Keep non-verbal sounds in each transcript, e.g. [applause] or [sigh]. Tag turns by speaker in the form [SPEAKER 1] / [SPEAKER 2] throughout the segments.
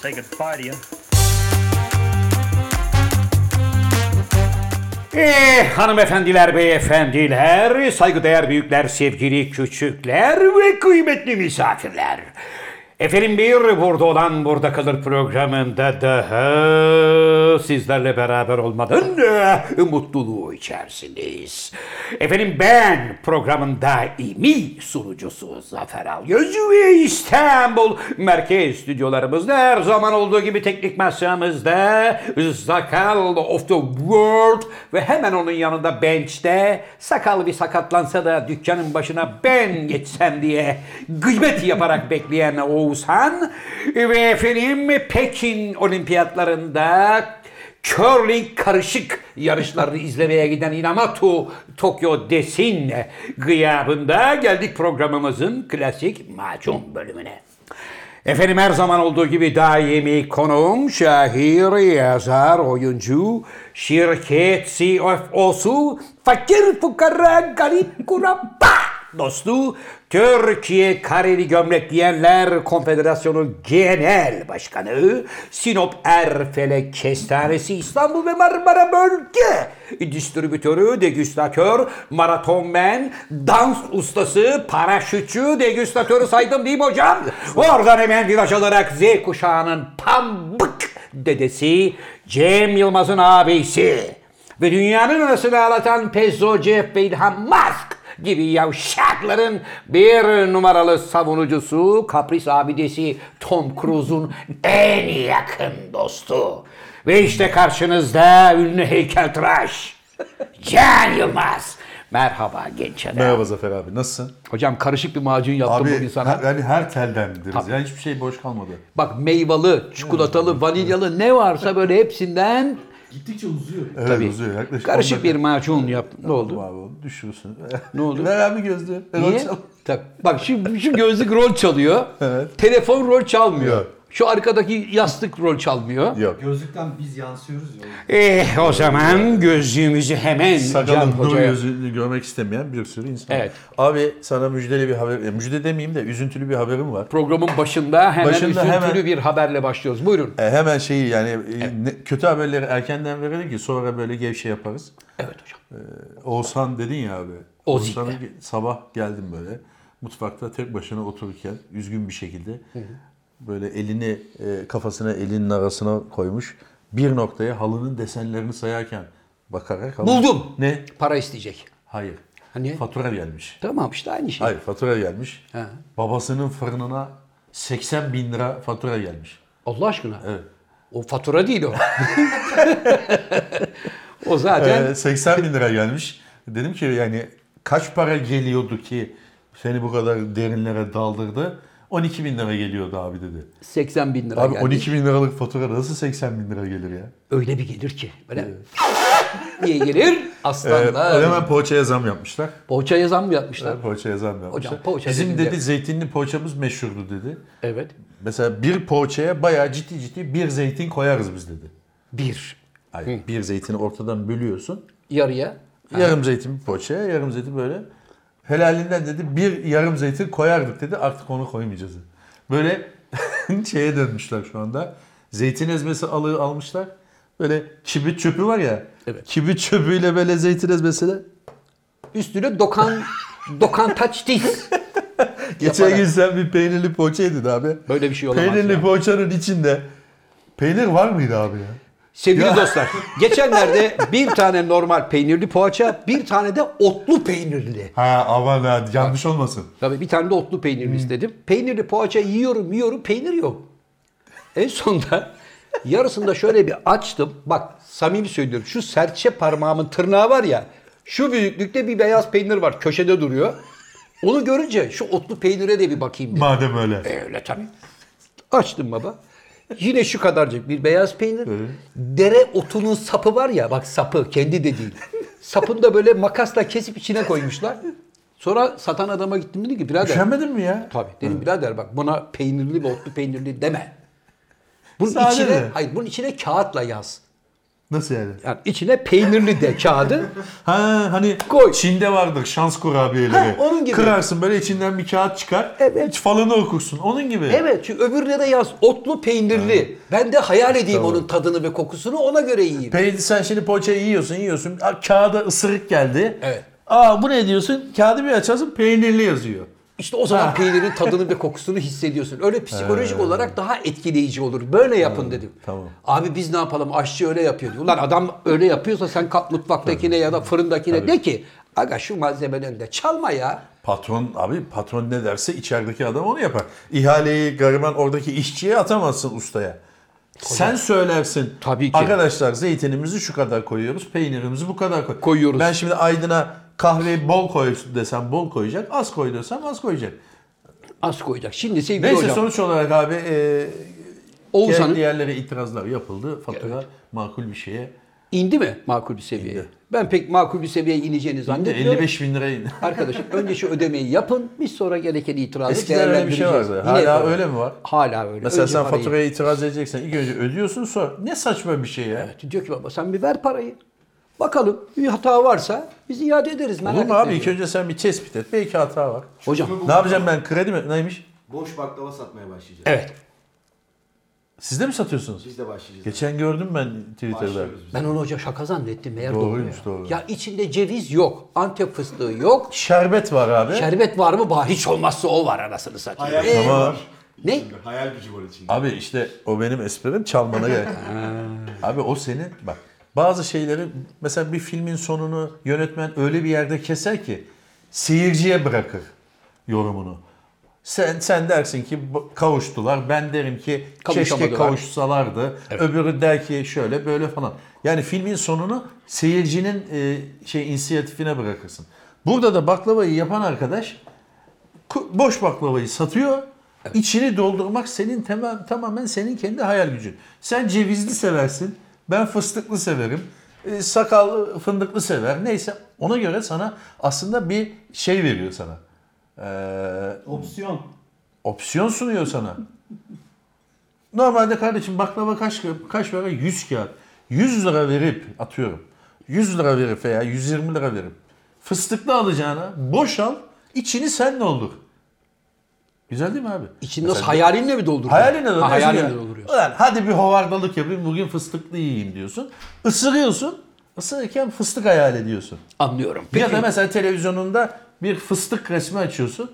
[SPEAKER 1] say goodbye to you.
[SPEAKER 2] Eh hanımefendiler, beyefendiler, saygıdeğer büyükler, sevgili küçükler ve kıymetli misafirler. Efendim bir burada olan burada kalır programında daha sizlerle beraber olmanın eh, mutluluğu içerisindeyiz. Efendim ben programın daimi sunucusu Zafer Algöz ve İstanbul Merkez Stüdyolarımızda her zaman olduğu gibi teknik masamızda Zakal of the World ve hemen onun yanında bench'te sakal bir sakatlansa da dükkanın başına ben geçsem diye gıybet yaparak bekleyen Oğuzhan ve efendim Pekin olimpiyatlarında curling karışık yarışlarını izlemeye giden Inamatu Tokyo Desin gıyabında geldik programımızın klasik macun bölümüne. Efendim her zaman olduğu gibi daimi konuğum şair, yazar, oyuncu, şirket CFO'su, fakir fukara garip kurabba dostu Türkiye Kareli Gömlek Giyenler Konfederasyonu Genel Başkanı, Sinop Erfele Kestanesi İstanbul ve Marmara Bölge Distribütörü, degüstatör, maratonmen, dans ustası, paraşütçü, degüstatörü saydım değil mi hocam? Oradan hemen viraj alarak Z kuşağının pambık dedesi, Cem Yılmaz'ın abisi ve dünyanın arasını ağlatan Pezzo, Jeff ve İlhan Musk gibi yavşakların bir numaralı savunucusu, kapris abidesi Tom Cruise'un en yakın dostu. Ve işte karşınızda ünlü heykeltıraş Can Yılmaz. Merhaba genç adam.
[SPEAKER 3] Merhaba Zafer abi. Nasılsın?
[SPEAKER 2] Hocam karışık bir macun yaptım bugün
[SPEAKER 3] Abi
[SPEAKER 2] sana.
[SPEAKER 3] her, yani her telden deriz. Yani hiçbir şey boş kalmadı.
[SPEAKER 2] Bak meyvalı, çikolatalı, vanilyalı ne varsa böyle hepsinden
[SPEAKER 4] Gittikçe uzuyor.
[SPEAKER 3] Evet
[SPEAKER 2] Tabii.
[SPEAKER 3] uzuyor. Yaklaşık
[SPEAKER 2] karışık
[SPEAKER 3] 10
[SPEAKER 2] bir
[SPEAKER 3] dakika.
[SPEAKER 2] macun yaptım. Ne oldu?
[SPEAKER 3] Abi düşüyorsun.
[SPEAKER 2] [laughs] Ne oldu?
[SPEAKER 3] Ver abi gözlüğü. Ben
[SPEAKER 2] Niye?
[SPEAKER 3] açalım.
[SPEAKER 2] Tak. Bak şu, şu gözlük rol çalıyor.
[SPEAKER 3] [laughs] Evet.
[SPEAKER 2] Telefon rol çalmıyor.
[SPEAKER 3] Yok.
[SPEAKER 2] Şu arkadaki yastık rol çalmıyor.
[SPEAKER 3] Yok.
[SPEAKER 4] Gözlükten biz yansıyoruz ya.
[SPEAKER 2] Eh o zaman gözlüğümüzü hemen Can
[SPEAKER 3] Sakalın nur
[SPEAKER 2] Hoca'ya.
[SPEAKER 3] yüzünü görmek istemeyen bir sürü insan.
[SPEAKER 2] Evet.
[SPEAKER 3] Abi sana müjdeli bir haber, e, müjde demeyeyim de üzüntülü bir haberim var.
[SPEAKER 2] Programın başında hemen
[SPEAKER 3] Başında
[SPEAKER 2] üzüntülü
[SPEAKER 3] hemen-
[SPEAKER 2] bir haberle başlıyoruz. Buyurun.
[SPEAKER 3] E, hemen şeyi yani e, ne- kötü haberleri erkenden verelim ki sonra böyle gevşe yaparız.
[SPEAKER 2] Evet hocam.
[SPEAKER 3] Oğuzhan dedin ya abi.
[SPEAKER 2] Ozik.
[SPEAKER 3] Oğuzhan'a ge- sabah geldim böyle. Mutfakta tek başına otururken üzgün bir şekilde böyle elini e, kafasına elinin arasına koymuş. Bir noktaya halının desenlerini sayarken bakarak. halının-
[SPEAKER 2] Buldum.
[SPEAKER 3] Ne?
[SPEAKER 2] Para isteyecek.
[SPEAKER 3] Hayır.
[SPEAKER 2] Hani?
[SPEAKER 3] Fatura gelmiş.
[SPEAKER 2] Tamam işte aynı şey.
[SPEAKER 3] Hayır fatura gelmiş.
[SPEAKER 2] Ha.
[SPEAKER 3] Babasının fırınına 80 bin lira fatura gelmiş.
[SPEAKER 2] Allah aşkına.
[SPEAKER 3] Evet.
[SPEAKER 2] O fatura değil
[SPEAKER 3] [laughs]
[SPEAKER 2] o. o zaten
[SPEAKER 3] Ee, 80 bin lira gelmiş. Dedim ki yani kaç para geliyordu ki seni bu kadar derinlere daldırdı? 12 bin lira geliyordu abi dedi.
[SPEAKER 2] 80 bin lira
[SPEAKER 3] Abi
[SPEAKER 2] geldi.
[SPEAKER 3] 12 bin liralık fatura nasıl 80 bin lira gelir ya?
[SPEAKER 2] Öyle bir gelir ki. Böyle diye gelir.
[SPEAKER 3] Ee,
[SPEAKER 2] Aslanlar.
[SPEAKER 3] hemen poğaçaya zam yapmışlar.
[SPEAKER 2] Poğaçaya zam mı yapmışlar?
[SPEAKER 3] Poğaçaya zam yapmışlar.
[SPEAKER 2] poğaça
[SPEAKER 3] Bizim
[SPEAKER 2] dediğinde-
[SPEAKER 3] dedi zeytinli poğaçamız meşhurdu dedi.
[SPEAKER 2] Evet.
[SPEAKER 3] Mesela bir poğaçaya bayağı ciddi ciddi bir zeytin koyarız biz dedi.
[SPEAKER 2] Bir.
[SPEAKER 3] Hayır, bir zeytini ortadan bölüyorsun.
[SPEAKER 2] Yarıya.
[SPEAKER 3] Yarım zeytin bir poğaçaya, yarım zeytin böyle. Helalinden dedi bir yarım zeytin koyardık dedi. Artık onu koymayacağız. dedi. Böyle [laughs] şeye dönmüşler şu anda. Zeytin ezmesi alığı almışlar. Böyle kibrit çöpü var ya.
[SPEAKER 2] Evet.
[SPEAKER 3] Kibrit çöpüyle böyle zeytin ezmesiyle.
[SPEAKER 2] [laughs] Üstüne dokan dokan taç değil.
[SPEAKER 3] Geçen
[SPEAKER 2] Yaparak.
[SPEAKER 3] gün sen bir peynirli poğaça yedin abi.
[SPEAKER 2] Böyle bir şey olamaz
[SPEAKER 3] Peynirli
[SPEAKER 2] ya. poğaçanın
[SPEAKER 3] poğaçanın içinde peynir var mıydı abi ya?
[SPEAKER 2] Sevgili dostlar, geçenlerde bir tane normal peynirli poğaça, bir tane de otlu peynirli.
[SPEAKER 3] Ha aman ha yanlış olmasın.
[SPEAKER 2] Tabii bir tane de otlu peynirli istedim. Peynirli poğaça yiyorum, yiyorum, peynir yok. En sonunda [laughs] yarısında şöyle bir açtım. Bak samimi söylüyorum. Şu serçe parmağımın tırnağı var ya. Şu büyüklükte bir beyaz peynir var. Köşede duruyor. Onu görünce şu otlu peynire de bir bakayım dedim.
[SPEAKER 3] Madem öyle.
[SPEAKER 2] Öyle tabii. Açtım baba. Yine şu kadarcık bir beyaz peynir. Dere otunun sapı var ya bak sapı kendi de değil. Sapını da böyle makasla kesip içine koymuşlar. Sonra satan adama gittim dedi ki birader.
[SPEAKER 3] Üşenmedin mi ya?
[SPEAKER 2] Tabii dedim birader bak buna peynirli ve otlu peynirli deme. Bunun
[SPEAKER 3] Sade
[SPEAKER 2] içine
[SPEAKER 3] mi?
[SPEAKER 2] hayır bunun içine kağıtla yaz.
[SPEAKER 3] Nasıl yani?
[SPEAKER 2] Yani içine peynirli de
[SPEAKER 3] [laughs]
[SPEAKER 2] kağıdı.
[SPEAKER 3] Ha hani
[SPEAKER 2] Koy.
[SPEAKER 3] Çin'de vardır şans
[SPEAKER 2] Ha,
[SPEAKER 3] kurabiyeleri.
[SPEAKER 2] onun gibi.
[SPEAKER 3] Kırarsın böyle içinden bir kağıt çıkar.
[SPEAKER 2] Evet.
[SPEAKER 3] Hiç falını okursun. Onun gibi.
[SPEAKER 2] evet çünkü öbürüne de yaz otlu peynirli. Ben de hayal edeyim onun tadını ve kokusunu ona göre yiyeyim.
[SPEAKER 3] Peynir sen şimdi poğaçayı yiyorsun yiyorsun. Aa, Kağıda ısırık geldi.
[SPEAKER 2] Evet.
[SPEAKER 3] Aa bu ne diyorsun? Kağıdı bir açarsın peynirli yazıyor.
[SPEAKER 2] İşte o zaman peynirin tadını ve kokusunu hissediyorsun. Öyle psikolojik olarak daha etkileyici olur. Böyle yapın dedim.
[SPEAKER 3] tamam.
[SPEAKER 2] Abi biz ne yapalım? Aşçı öyle yapıyor. diyor. Ulan adam öyle yapıyorsa sen kalk mutfaktakine ya da fırındakine de ki aga şu malzemeden de çalma ya.
[SPEAKER 3] Patron abi patron ne derse içerideki adam onu yapar. İhaleyi gariban oradaki işçiye atamazsın ustaya. Sen söylersin.
[SPEAKER 2] Tabii ki.
[SPEAKER 3] Arkadaşlar zeytinimizi şu kadar koyuyoruz, peynirimizi bu kadar koy.
[SPEAKER 2] Koyuyoruz.
[SPEAKER 3] Ben şimdi Aydın'a kahveyi bol koy desem bol koyacak, az koy desem az koyacak.
[SPEAKER 2] Az koyacak. Şimdi sevgili
[SPEAKER 3] Neyse
[SPEAKER 2] hocam.
[SPEAKER 3] sonuç olarak abi e,
[SPEAKER 2] Oğuzhan'ın
[SPEAKER 3] diğerlere itirazlar yapıldı. Fatura makul bir şeye.
[SPEAKER 2] indi mi makul bir seviyeye?
[SPEAKER 3] İndi.
[SPEAKER 2] Ben pek makul bir seviyeye ineceğini zannetmiyorum.
[SPEAKER 3] 55 E, bin liraya indi.
[SPEAKER 2] Arkadaşım önce şu ödemeyi yapın. Biz sonra gereken itirazı
[SPEAKER 3] Eskiden öyle bir şey
[SPEAKER 2] değerlendireceğiz.
[SPEAKER 3] vardı.
[SPEAKER 2] Yine
[SPEAKER 3] Hala
[SPEAKER 2] yapalım.
[SPEAKER 3] öyle mi var?
[SPEAKER 2] Hala öyle.
[SPEAKER 3] Mesela
[SPEAKER 2] Önce
[SPEAKER 3] sen
[SPEAKER 2] parayı-
[SPEAKER 3] faturaya itiraz edeceksen ilk önce ödüyorsun sonra ne saçma bir şey ya.
[SPEAKER 2] Diyor ki baba sen bir ver parayı. Bakalım bir hata varsa biz iade ederiz. merak
[SPEAKER 3] Olur mu
[SPEAKER 2] etme
[SPEAKER 3] abi?
[SPEAKER 2] diyor.
[SPEAKER 3] İlk önce sen bir tespit et. Belki hata var.
[SPEAKER 2] Hocam
[SPEAKER 3] Ne yapacağım ben? Kredi mi? Neymiş?
[SPEAKER 5] Boş baklava satmaya başlayacağız.
[SPEAKER 2] evet
[SPEAKER 3] Siz de mi satıyorsunuz?
[SPEAKER 5] Biz de başlayacağız.
[SPEAKER 3] Geçen gördüm ben Twitter'da.
[SPEAKER 5] Başlıyoruz biz.
[SPEAKER 2] ben onu hoca şaka zannettim. Meğer
[SPEAKER 3] Doğruymuş,
[SPEAKER 2] doğru. ya.
[SPEAKER 3] doğru.
[SPEAKER 2] Ya içinde ceviz yok. Antep fıstığı yok.
[SPEAKER 3] Şerbet var abi.
[SPEAKER 2] Şerbet var mı? Bah, hiç olmazsa o var anasını satayım.
[SPEAKER 5] Hayal
[SPEAKER 2] Ee,
[SPEAKER 5] gücü
[SPEAKER 3] Ama-
[SPEAKER 5] var.
[SPEAKER 2] Ne?
[SPEAKER 5] içinde, Hayal gücü var içinde.
[SPEAKER 3] Abi işte o benim esprim çalmana gerek. abi o senin bak bazı şeyleri mesela bir filmin sonunu yönetmen öyle bir yerde keser ki seyirciye bırakır yorumunu. Sen sen dersin ki bu- kavuştular. Ben derim ki keşke
[SPEAKER 2] Kavuşamadılar.
[SPEAKER 3] kavuşsalardı. Öbürü der ki şöyle böyle falan. Yani filmin sonunu seyircinin e, şey inisiyatifine bırakırsın. Burada da baklavayı yapan arkadaş Ku- boş baklavayı satıyor. İçini doldurmak senin temel, tamamen senin kendi hayal gücün. Sen cevizli seversin. Ben fıstıklı severim. e, Sakallı fındıklı sever. Neyse ona göre sana aslında bir şey veriyor sana. Ee,
[SPEAKER 4] Opsiyon.
[SPEAKER 3] opsiyon sunuyor sana. Normalde kardeşim baklava kaç kaç para? 100 kağıt. 100 lira verip atıyorum. 100 lira verip veya 120 lira verip fıstıklı alacağına boş al içini sen doldur. Güzel değil mi abi?
[SPEAKER 2] İçini nasıl hayalinle mi dolduruyorsun?
[SPEAKER 3] Hayaline dolduruyorsun.
[SPEAKER 2] Ha, hayalinle
[SPEAKER 3] yani.
[SPEAKER 2] dolduruyorsun.
[SPEAKER 3] Ulan hadi bir hovardalık yapayım bugün fıstıklı yiyeyim diyorsun. Isırıyorsun. Isırırken fıstık hayal ediyorsun.
[SPEAKER 2] Anlıyorum.
[SPEAKER 3] Ya
[SPEAKER 2] Peki,
[SPEAKER 3] da mesela televizyonunda bir fıstık resmi açıyorsun.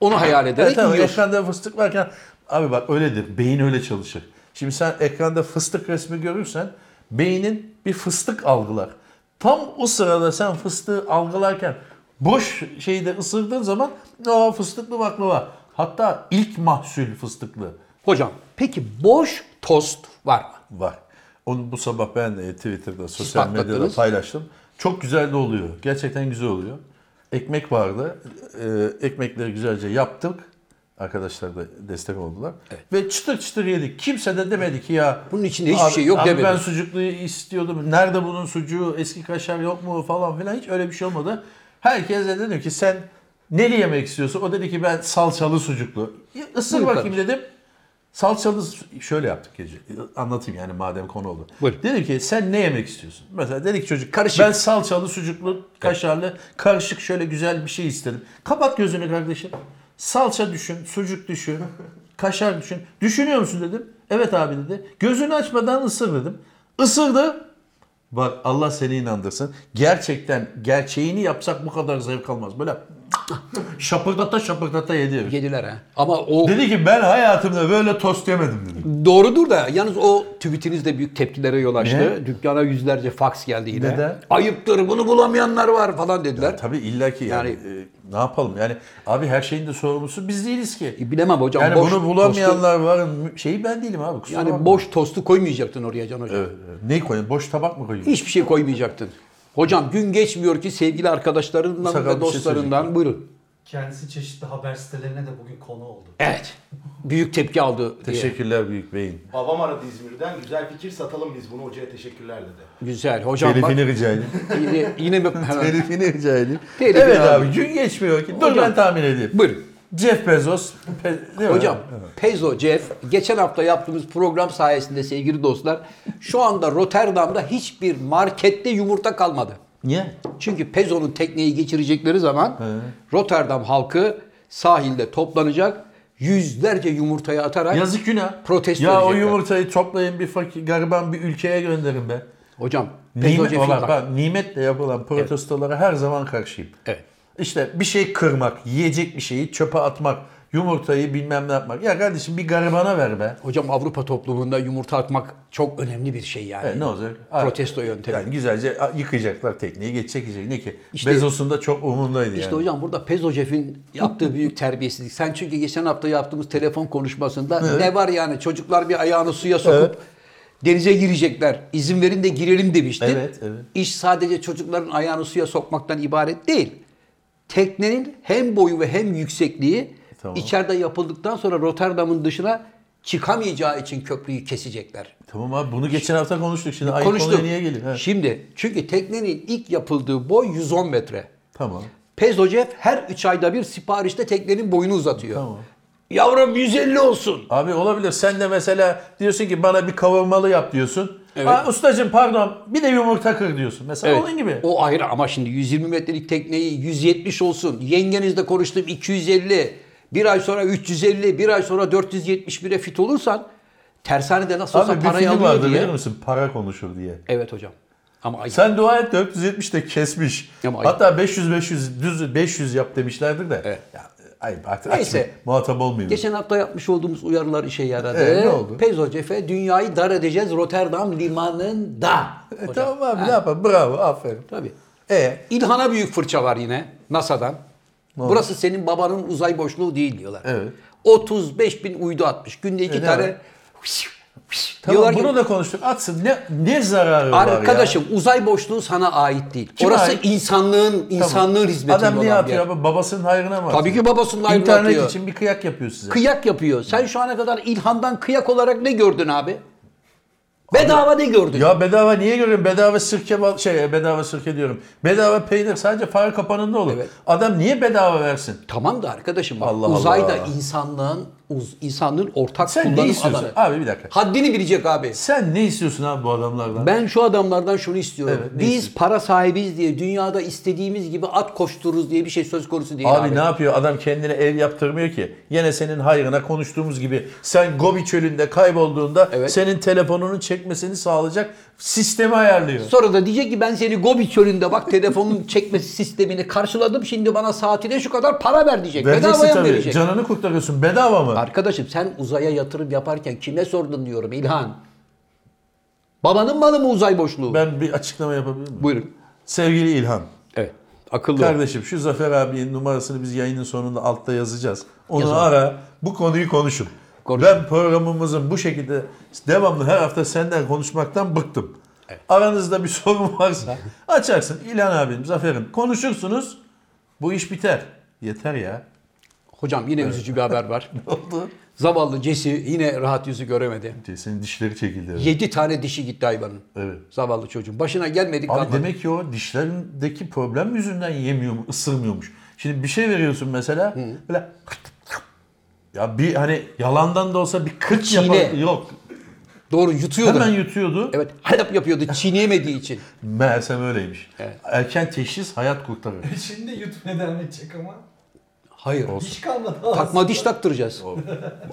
[SPEAKER 2] onu hayal ederek
[SPEAKER 3] Evet, tamam,
[SPEAKER 2] Hani yiyorsun.
[SPEAKER 3] ekranda fıstık varken abi bak öyledir. Beyin öyle çalışır. Şimdi sen ekranda fıstık resmi görürsen beynin bir fıstık algılar. Tam o sırada sen fıstığı algılarken boş şeyi de ısırdığın zaman o fıstıklı baklava. Hatta ilk mahsul fıstıklı
[SPEAKER 2] Hocam peki boş tost var mı?
[SPEAKER 3] var. Onu bu sabah ben de Twitter'da, sosyal medyada
[SPEAKER 2] patlattınız.
[SPEAKER 3] paylaştım. Çok güzel de oluyor. Gerçekten güzel oluyor. Ekmek vardı. Ee, ekmekleri güzelce yaptık. Arkadaşlar da destek oldular. Ve çıtır çıtır yedik. Kimse de demedi ki ya.
[SPEAKER 2] Bunun içinde hiçbir şey yok
[SPEAKER 3] abi
[SPEAKER 2] demedi."
[SPEAKER 3] ben sucuklu istiyordum. Nerede bunun sucuğu? Eski kaşar yok mu falan filan. Hiç öyle bir şey olmadı. Herkes de dedi ki sen neli yemek istiyorsun? O dedi ki ben salçalı sucuklu. Ya, Isır
[SPEAKER 2] Buyur
[SPEAKER 3] bakayım dedim. Salçalı şöyle yaptık gece. Anlatayım yani madem konu oldu.
[SPEAKER 2] Buyurun.
[SPEAKER 3] Dedim ki sen ne yemek istiyorsun? Mesela dedi ki çocuk
[SPEAKER 2] Karışık.
[SPEAKER 3] ben salçalı, sucuklu, kaşarlı, karışık şöyle güzel bir şey istedim. Kapat gözünü kardeşim. Salça düşün, sucuk düşün, kaşar düşün. Düşünüyor musun dedim. Evet abi dedi. Gözünü açmadan ısır dedim. Isırdı. Bak Allah seni inandırsın. Gerçekten gerçeğini yapsak bu kadar zevk almaz. Böyle [laughs] şapırdata şapırdata yedi.
[SPEAKER 2] Yediler ha. Ama o
[SPEAKER 3] Dedi ki ben hayatımda böyle tost yemedim dedi.
[SPEAKER 2] Doğrudur da yalnız o tweetiniz de büyük tepkilere yol açtı.
[SPEAKER 3] Ne?
[SPEAKER 2] Dükkana yüzlerce fax geldi yine.
[SPEAKER 3] Neden?
[SPEAKER 2] Ayıptır bunu bulamayanlar var falan dediler.
[SPEAKER 3] Tabii illaki yani,
[SPEAKER 2] Yani-
[SPEAKER 3] e, ne yapalım yani abi her şeyin de sorumlusu biz değiliz ki.
[SPEAKER 2] E, bilemem hocam.
[SPEAKER 3] yani
[SPEAKER 2] boş
[SPEAKER 3] bunu
[SPEAKER 2] tostu-
[SPEAKER 3] bulamayanlar var şeyi ben değilim abi kusura
[SPEAKER 2] yani
[SPEAKER 3] bakma.
[SPEAKER 2] boş tostu koymayacaktın oraya Can Hocam.
[SPEAKER 3] E, e, ne koyayım boş tabak mı koyayım?
[SPEAKER 2] Hiçbir şey koymayacaktın. Hocam gün geçmiyor ki sevgili arkadaşlarından
[SPEAKER 3] Sakal
[SPEAKER 2] ve
[SPEAKER 3] bir şey
[SPEAKER 2] dostlarından buyurun.
[SPEAKER 4] Kendisi çeşitli haber sitelerine de bugün konu oldu. [laughs]
[SPEAKER 2] Evet. Büyük tepki aldı diye.
[SPEAKER 3] Teşekkürler büyük beyin.
[SPEAKER 5] Babam aradı İzmir'den. Güzel fikir satalım biz bunu hocaya teşekkürler dedi.
[SPEAKER 2] Güzel. Hocam bak
[SPEAKER 3] Telifini rica
[SPEAKER 2] [laughs]
[SPEAKER 3] edeyim.
[SPEAKER 2] yine, yine mi? Hemen.
[SPEAKER 3] [laughs] Telifini rica edeyim.
[SPEAKER 2] Telifini
[SPEAKER 3] evet
[SPEAKER 2] aldım.
[SPEAKER 3] abi gün geçmiyor ki. Dur
[SPEAKER 2] Hocam-
[SPEAKER 3] ben tahmin edeyim.
[SPEAKER 2] Buyurun.
[SPEAKER 3] Jeff Bezos. Pe- değil
[SPEAKER 2] [laughs]
[SPEAKER 3] mi?
[SPEAKER 2] Hocam Pezo Jeff geçen hafta yaptığımız program sayesinde sevgili dostlar şu anda Rotterdam'da hiçbir markette yumurta kalmadı.
[SPEAKER 3] Niye?
[SPEAKER 2] Çünkü Pezo'nun tekneyi geçirecekleri zaman Rotterdam halkı sahilde toplanacak yüzlerce yumurtayı atarak
[SPEAKER 3] Yazık günah.
[SPEAKER 2] Protesto
[SPEAKER 3] Ya o
[SPEAKER 2] edecekler.
[SPEAKER 3] yumurtayı toplayın bir fakir gariban bir ülkeye gönderin be.
[SPEAKER 2] hocam Pezo
[SPEAKER 3] Nimet,
[SPEAKER 2] Jeff'i
[SPEAKER 3] olan,
[SPEAKER 2] bak.
[SPEAKER 3] bak, nimetle yapılan protestolara her zaman karşıyım.
[SPEAKER 2] Evet.
[SPEAKER 3] İşte bir şey kırmak, yiyecek bir şeyi çöpe atmak, yumurtayı bilmem ne yapmak. Ya kardeşim bir garibana ver be.
[SPEAKER 2] Hocam Avrupa toplumunda yumurta atmak çok önemli bir şey yani.
[SPEAKER 3] E, ne olacak?
[SPEAKER 2] Protesto yöntemi.
[SPEAKER 3] Yani güzelce yıkayacaklar tekneyi, geçecek yiyecek. Ne ki?
[SPEAKER 2] İşte-
[SPEAKER 3] Bezos'un da çok umurundaydı yani.
[SPEAKER 2] İşte hocam burada Pezo Jeff'in
[SPEAKER 3] [laughs]
[SPEAKER 2] yaptığı büyük terbiyesizlik. Sen çünkü geçen hafta yaptığımız telefon konuşmasında ne var yani çocuklar bir ayağını suya sokup
[SPEAKER 3] Evet.
[SPEAKER 2] denize girecekler. İzin verin de girelim demiştin.
[SPEAKER 3] Evet, evet.
[SPEAKER 2] İş sadece çocukların ayağını suya sokmaktan ibaret değil. Teknenin hem boyu ve hem yüksekliği
[SPEAKER 3] E, Tamam.
[SPEAKER 2] içeride yapıldıktan sonra Rotterdam'ın dışına çıkamayacağı için köprüyü kesecekler.
[SPEAKER 3] Tamam abi bunu geçen hafta konuştuk. Şimdi ayıp
[SPEAKER 2] Konuştuk.
[SPEAKER 3] konuya niye gelin? He.
[SPEAKER 2] Şimdi çünkü teknenin ilk yapıldığı boy 110 metre.
[SPEAKER 3] Tamam.
[SPEAKER 2] Pezocev her 3 ayda bir siparişte teknenin boyunu uzatıyor.
[SPEAKER 3] Tamam.
[SPEAKER 2] Yavrum 150 olsun.
[SPEAKER 3] Abi olabilir. Sen de mesela diyorsun ki bana bir kavurmalı yap diyorsun.
[SPEAKER 2] Evet.
[SPEAKER 3] Aa, ustacığım pardon bir de yumurta kır diyorsun. Mesela onun gibi.
[SPEAKER 2] O ayrı ama şimdi 120 metrelik tekneyi 170 olsun. Yengenizle konuştum 250. Bir ay sonra 350, bir ay sonra 471'e fit olursan tersanede nasıl olsa
[SPEAKER 3] Abi bir
[SPEAKER 2] parayı
[SPEAKER 3] film
[SPEAKER 2] alıyor
[SPEAKER 3] vardı
[SPEAKER 2] diye.
[SPEAKER 3] bilir misin? Para konuşur diye.
[SPEAKER 2] Evet hocam. Ama ay-
[SPEAKER 3] Sen dua et 470 de kesmiş.
[SPEAKER 2] Ama ayıp.
[SPEAKER 3] Hatta 500 500 düz 500 yap demişlerdir de.
[SPEAKER 2] Evet.
[SPEAKER 3] Ya, ayıp artık
[SPEAKER 2] Neyse.
[SPEAKER 3] açma. Muhatap olmuyor.
[SPEAKER 2] geçen hafta yapmış olduğumuz uyarılar işe yaradı.
[SPEAKER 3] Evet, ne oldu?
[SPEAKER 2] Pezocev'e dünyayı dar edeceğiz Rotterdam limanında.
[SPEAKER 3] E,
[SPEAKER 2] Hocam.
[SPEAKER 3] tamam abi ne yapalım? Bravo aferin.
[SPEAKER 2] Tabii.
[SPEAKER 3] E
[SPEAKER 2] İlhan'a büyük fırça var yine NASA'dan. Burası senin babanın uzay boşluğu değil diyorlar.
[SPEAKER 3] Evet.
[SPEAKER 2] 35 bin uydu atmış. Günde iki
[SPEAKER 3] E, ne
[SPEAKER 2] tane
[SPEAKER 3] var? tamam
[SPEAKER 2] diyorlar
[SPEAKER 3] bunu
[SPEAKER 2] ki
[SPEAKER 3] da konuştuk. Atsın ne ne zararı var ya?
[SPEAKER 2] arkadaşım uzay boşluğu sana ait değil.
[SPEAKER 3] Kime
[SPEAKER 2] Orası
[SPEAKER 3] ait?
[SPEAKER 2] insanlığın insanlığın hizmetinde
[SPEAKER 3] Adam niye
[SPEAKER 2] olan bir yer.
[SPEAKER 3] atıyor abi? Babasının hayrına mı?
[SPEAKER 2] Tabii
[SPEAKER 3] atıyor?
[SPEAKER 2] ki babasının ayrı
[SPEAKER 3] İnternet
[SPEAKER 2] atıyor.
[SPEAKER 3] için bir kıyak yapıyor size.
[SPEAKER 2] Kıyak yapıyor. Sen şu ana kadar İlhan'dan kıyak olarak ne gördün abi? Bedava ne gördün?
[SPEAKER 3] Ya bedava niye görüyorum? Bedava sirke bal şey bedava sirke diyorum. Bedava peynir sadece fare kapanında olur.
[SPEAKER 2] Evet.
[SPEAKER 3] Adam niye bedava versin?
[SPEAKER 2] Tamam da arkadaşım bak
[SPEAKER 3] Allah
[SPEAKER 2] uzayda
[SPEAKER 3] Allah.
[SPEAKER 2] insanlığın uz, insanlığın ortak
[SPEAKER 3] Sen ne
[SPEAKER 2] kullanım
[SPEAKER 3] istiyorsun?
[SPEAKER 2] alanı.
[SPEAKER 3] Abi bir dakika.
[SPEAKER 2] Haddini bilecek abi.
[SPEAKER 3] Sen ne istiyorsun abi bu adamlardan?
[SPEAKER 2] Ben şu adamlardan şunu istiyorum.
[SPEAKER 3] Evet, ne
[SPEAKER 2] Biz
[SPEAKER 3] istiyorsun?
[SPEAKER 2] para sahibiyiz diye dünyada istediğimiz gibi at koştururuz diye bir şey söz konusu değil abi.
[SPEAKER 3] Abi ne yapıyor? Adam kendine ev yaptırmıyor ki. Yine senin hayrına konuştuğumuz gibi sen Gobi çölünde kaybolduğunda
[SPEAKER 2] Evet.
[SPEAKER 3] senin telefonunun çekmesini sağlayacak sistemi ayarlıyor.
[SPEAKER 2] Sonra da diyecek ki ben seni Gobi çölünde bak
[SPEAKER 3] [laughs]
[SPEAKER 2] telefonun çekmesi sistemini karşıladım. Şimdi bana saatine şu kadar para ver diyecek.
[SPEAKER 3] Vereceksin
[SPEAKER 2] Bedavaya mı
[SPEAKER 3] tabii.
[SPEAKER 2] verecek?
[SPEAKER 3] Canını kurtarıyorsun. Bedava mı?
[SPEAKER 2] Arkadaşım sen uzaya yatırım yaparken kime sordun diyorum İlhan. Babanın malı mı uzay boşluğu?
[SPEAKER 3] Ben bir açıklama yapabilir miyim?
[SPEAKER 2] Buyurun.
[SPEAKER 3] Sevgili İlhan.
[SPEAKER 2] Evet. Akıllı ol.
[SPEAKER 3] Kardeşim şu Zafer abinin numarasını biz yayının sonunda altta yazacağız. Onu
[SPEAKER 2] Yazalım.
[SPEAKER 3] ara. Bu konuyu konuşun.
[SPEAKER 2] Konuşun.
[SPEAKER 3] Ben programımızın bu şekilde devamlı her hafta senden konuşmaktan bıktım. Aranızda bir [laughs] sorun varsa açarsın İlhan abim, Zafer'im konuşursunuz. Bu iş biter. Yeter ya.
[SPEAKER 2] Hocam yine üzücü bir haber var.
[SPEAKER 3] [laughs] Ne oldu?
[SPEAKER 2] Zavallı Jesse yine rahat yüzü göremedi.
[SPEAKER 3] Senin dişleri çekildi. herhalde.
[SPEAKER 2] 7 tane dişi gitti hayvanın.
[SPEAKER 3] Evet.
[SPEAKER 2] Zavallı çocuğun. Başına gelmedik
[SPEAKER 3] Abi demek ki o dişlerindeki problem yüzünden yemiyor mu, ısırmıyormuş. Şimdi bir şey veriyorsun mesela böyle ya bir hani yalandan da olsa bir kırk
[SPEAKER 2] Çiğne.
[SPEAKER 3] yapar. Yok.
[SPEAKER 2] Doğru yutuyordu.
[SPEAKER 3] Hemen yutuyordu.
[SPEAKER 2] Evet halap yapıyordu çiğneyemediği için.
[SPEAKER 3] Meğersem öyleymiş. Erken teşhis hayat kurtarır.
[SPEAKER 4] Şimdi YouTube devam edecek ama
[SPEAKER 2] Hayır.
[SPEAKER 4] diş kalmadı aslında.
[SPEAKER 2] Takma diş taktıracağız.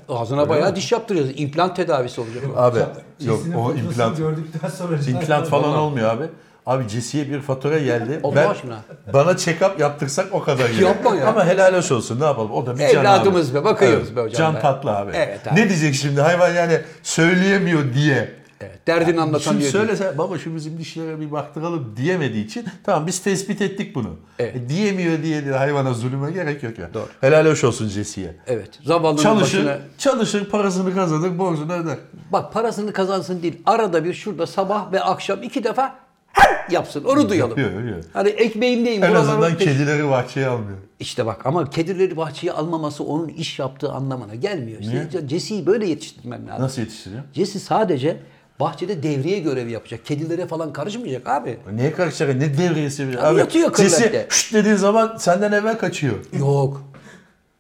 [SPEAKER 2] Ağzına bayağı diş yaptıracağız. İmplant tedavisi olacak. o.
[SPEAKER 3] Abi yok
[SPEAKER 4] Cesinin
[SPEAKER 3] o
[SPEAKER 4] fotoğrafını
[SPEAKER 3] implant.
[SPEAKER 4] gördükten sonra
[SPEAKER 3] İmplant falan olmuyor abi. Abi Cesi'ye bir fatura geldi.
[SPEAKER 2] Allah
[SPEAKER 3] ben,
[SPEAKER 2] aşkına.
[SPEAKER 3] Bana check-up yaptırsak o kadar iyi.
[SPEAKER 2] Yapma ya.
[SPEAKER 3] Ama helal hoş olsun ne yapalım. O da bir can
[SPEAKER 2] Evladımız
[SPEAKER 3] abi.
[SPEAKER 2] be, bakıyoruz be hocam
[SPEAKER 3] Can
[SPEAKER 2] be.
[SPEAKER 3] tatlı abi.
[SPEAKER 2] Evet abi.
[SPEAKER 3] Ne diyecek şimdi hayvan yani söyleyemiyor diye.
[SPEAKER 2] Evet, derdini anlatan
[SPEAKER 3] Şimdi
[SPEAKER 2] diyor.
[SPEAKER 3] söylese baba şu bizim dişlere bir baktıralım diyemediği için tamam biz tespit ettik bunu.
[SPEAKER 2] Evet.
[SPEAKER 3] E, diyemiyor diye de hayvana zulüme gerek yok ya.
[SPEAKER 2] Doğru.
[SPEAKER 3] Helal hoş olsun Cesi'ye.
[SPEAKER 2] Evet. Zavallının
[SPEAKER 3] Çalışır,
[SPEAKER 2] başına.
[SPEAKER 3] çalışır parasını kazanır borcunu öder.
[SPEAKER 2] Bak parasını kazansın değil. Arada bir şurada sabah ve akşam iki defa "Hep!" yapsın. Onu duyalım.
[SPEAKER 3] Yapıyor, yapıyor.
[SPEAKER 2] Hani ekmeğimdeyim.
[SPEAKER 3] En
[SPEAKER 2] buralara-
[SPEAKER 3] azından kedileri bahçeye almıyor.
[SPEAKER 2] İşte bak ama kedileri bahçeye almaması onun iş yaptığı anlamına gelmiyor. İşte
[SPEAKER 3] Niye?
[SPEAKER 2] Jesse'yi böyle yetiştirmen lazım.
[SPEAKER 3] Nasıl yetiştiriyor?
[SPEAKER 2] Jesse sadece bahçede devriye görevi yapacak. Kedilere falan karışmayacak abi.
[SPEAKER 3] Neye karışacak? Ne devriyesi bir?
[SPEAKER 2] yatıyor
[SPEAKER 3] sesi
[SPEAKER 2] kırlente.
[SPEAKER 3] şşt dediğin zaman senden eve kaçıyor.
[SPEAKER 2] Yok.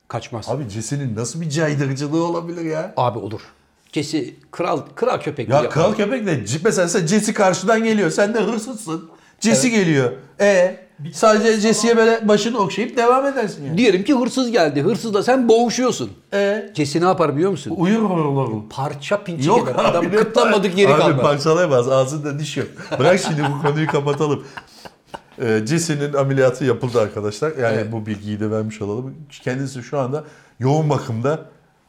[SPEAKER 2] Kaçmaz. Abi,
[SPEAKER 3] Abi Cesi'nin nasıl bir caydırıcılığı olabilir ya?
[SPEAKER 2] olur. Cesi kral kral köpek.
[SPEAKER 3] Ya
[SPEAKER 2] bile.
[SPEAKER 3] kral köpek de c- mesela sen Jesse karşıdan geliyor. Sen de hırsızsın. Jesse geliyor. E sadece Jesse'ye böyle başını okşayıp devam edersin yani.
[SPEAKER 2] Diyelim ki hırsız geldi. Hırsızla sen boğuşuyorsun.
[SPEAKER 3] E
[SPEAKER 2] Cesi ne yapar biliyor musun?
[SPEAKER 3] uyur horul horul.
[SPEAKER 2] Parça pinçik
[SPEAKER 3] Yok [laughs]
[SPEAKER 2] eder. Adam
[SPEAKER 3] abi, ne
[SPEAKER 2] kıtlanmadık
[SPEAKER 3] par-
[SPEAKER 2] yeri
[SPEAKER 3] abi,
[SPEAKER 2] kalmaz.
[SPEAKER 3] parçalayamaz. Ağzında diş yok. Bırak şimdi bu konuyu kapatalım. Ee, Jesse'nin ameliyatı yapıldı arkadaşlar. Yani
[SPEAKER 2] Evet.
[SPEAKER 3] bu bilgiyi de vermiş olalım. Kendisi şu anda yoğun bakımda.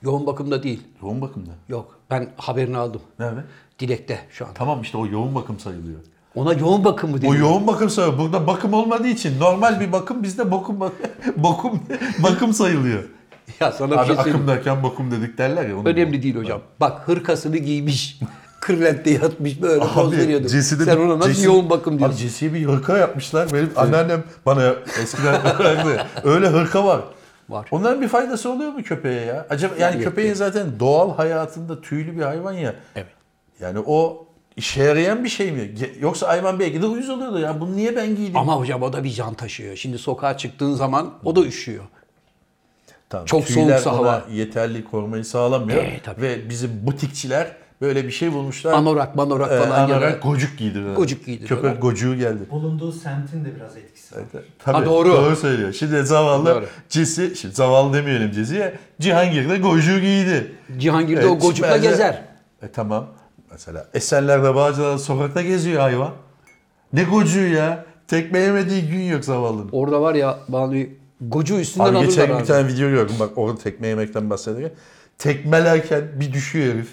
[SPEAKER 2] Yoğun bakımda değil.
[SPEAKER 3] Yoğun bakımda?
[SPEAKER 2] Yok. Ben haberini aldım.
[SPEAKER 3] Nerede?
[SPEAKER 2] Dilekte şu an.
[SPEAKER 3] Tamam işte o yoğun bakım sayılıyor.
[SPEAKER 2] Ona yoğun bakım mı dedi?
[SPEAKER 3] O yoğun bakım sayılıyor. Burada bakım olmadığı için normal bir bakım bizde bokum [laughs] bak- bokum bakım sayılıyor.
[SPEAKER 2] Ya sana bir
[SPEAKER 3] Abi
[SPEAKER 2] şey söyleyeyim.
[SPEAKER 3] akım derken bakım dedik derler ya. Onu
[SPEAKER 2] Önemli değil hocam. Bak hırkasını giymiş. [laughs] Kırlentte yatmış böyle poz veriyordu.
[SPEAKER 3] Jesse'de
[SPEAKER 2] Sen
[SPEAKER 3] bir-
[SPEAKER 2] ona nasıl
[SPEAKER 3] Jesse-
[SPEAKER 2] yoğun bakım
[SPEAKER 3] Abi
[SPEAKER 2] diyorsun?
[SPEAKER 3] Jesse'ye bir hırka yapmışlar. Benim anneannem bana eskiden
[SPEAKER 2] [laughs]
[SPEAKER 3] öğrendi. Öyle hırka var.
[SPEAKER 2] Var.
[SPEAKER 3] Onların bir faydası oluyor mu köpeğe ya? Acaba yani
[SPEAKER 2] Yok,
[SPEAKER 3] köpeğin
[SPEAKER 2] yok.
[SPEAKER 3] zaten doğal hayatında tüylü bir hayvan ya.
[SPEAKER 2] Evet.
[SPEAKER 3] Yani o işe yarayan bir şey mi? Ge- Yoksa hayvan belki de uyuz oluyordu ya. Bunu niye ben giydim?
[SPEAKER 2] Ama hocam o da bir can taşıyor. Şimdi sokağa çıktığın zaman o da üşüyor.
[SPEAKER 3] Tamam,
[SPEAKER 2] Çok
[SPEAKER 3] tüyler
[SPEAKER 2] soğuksa
[SPEAKER 3] ona
[SPEAKER 2] hava.
[SPEAKER 3] yeterli korumayı sağlamıyor.
[SPEAKER 2] Ee, tabii.
[SPEAKER 3] Ve bizim butikçiler böyle bir şey bulmuşlar.
[SPEAKER 2] Anorak manorak
[SPEAKER 3] Ee,
[SPEAKER 2] falan. ya da-
[SPEAKER 3] anorak gocuk giydiriyorlar.
[SPEAKER 2] Gocuk giydiriyorlar.
[SPEAKER 3] Köpek gocuğu geldi.
[SPEAKER 4] Bulunduğu semtin de biraz etkisi var.
[SPEAKER 3] Tabii,
[SPEAKER 2] Ha, doğru.
[SPEAKER 3] Doğru söylüyor. Şimdi zavallı
[SPEAKER 2] Doğru.
[SPEAKER 3] Cesi, şimdi zavallı demeyelim Cesi'ye, Cihangir de gocuğu giydi.
[SPEAKER 2] Cihangir de
[SPEAKER 3] Evet,
[SPEAKER 2] o gocukla
[SPEAKER 3] Çimen'de-
[SPEAKER 2] gezer.
[SPEAKER 3] E tamam. Mesela Esenler'de Bağcılar'da sokakta geziyor hayvan. Ne gocuğu ya? Tekme yemediği gün yok zavallının.
[SPEAKER 2] Orada var ya Banu gocu üstünden
[SPEAKER 3] Abi geçen
[SPEAKER 2] alırlar
[SPEAKER 3] gün
[SPEAKER 2] abi.
[SPEAKER 3] bir tane video gördüm bak orada tekme yemekten bahsederken. Tekmelerken bir düşüyor herif.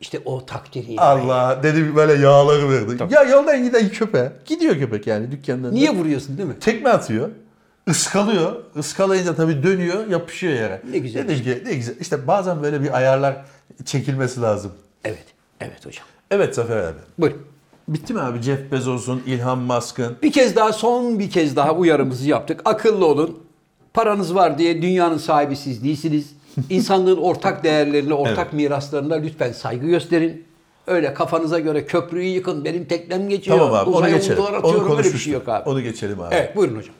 [SPEAKER 2] İşte o takdiri.
[SPEAKER 3] Allah dedi böyle yağları verdi. Ya yoldan giden köpe. Gidiyor köpek yani dükkandan.
[SPEAKER 2] Niye vuruyorsun değil mi?
[SPEAKER 3] Tekme atıyor. ıskalıyor. Iskalayınca tabii dönüyor, yapışıyor yere.
[SPEAKER 2] Ne güzel.
[SPEAKER 3] Dedim ki, ne güzel. İşte bazen böyle bir ayarlar çekilmesi lazım.
[SPEAKER 2] Evet. Evet hocam.
[SPEAKER 3] Evet Zafer abi.
[SPEAKER 2] Buyurun.
[SPEAKER 3] Bitti mi abi Jeff Bezos'un, Elon Musk'ın?
[SPEAKER 2] Bir kez daha son bir kez daha uyarımızı yaptık. Akıllı olun. Paranız var diye dünyanın sahibi siz
[SPEAKER 3] [laughs]
[SPEAKER 2] değilsiniz. İnsanlığın ortak değerlerine, ortak miraslarına lütfen saygı gösterin. Öyle kafanıza göre köprüyü yıkın, benim teknem geçiyor,
[SPEAKER 3] Tamam abi onu
[SPEAKER 2] uzaya
[SPEAKER 3] geçelim.
[SPEAKER 2] uydular atıyorum,
[SPEAKER 3] Onu
[SPEAKER 2] öyle bir
[SPEAKER 3] konuşmuştuk.
[SPEAKER 2] şey yok abi.
[SPEAKER 3] Onu geçelim abi.
[SPEAKER 2] Evet buyurun hocam.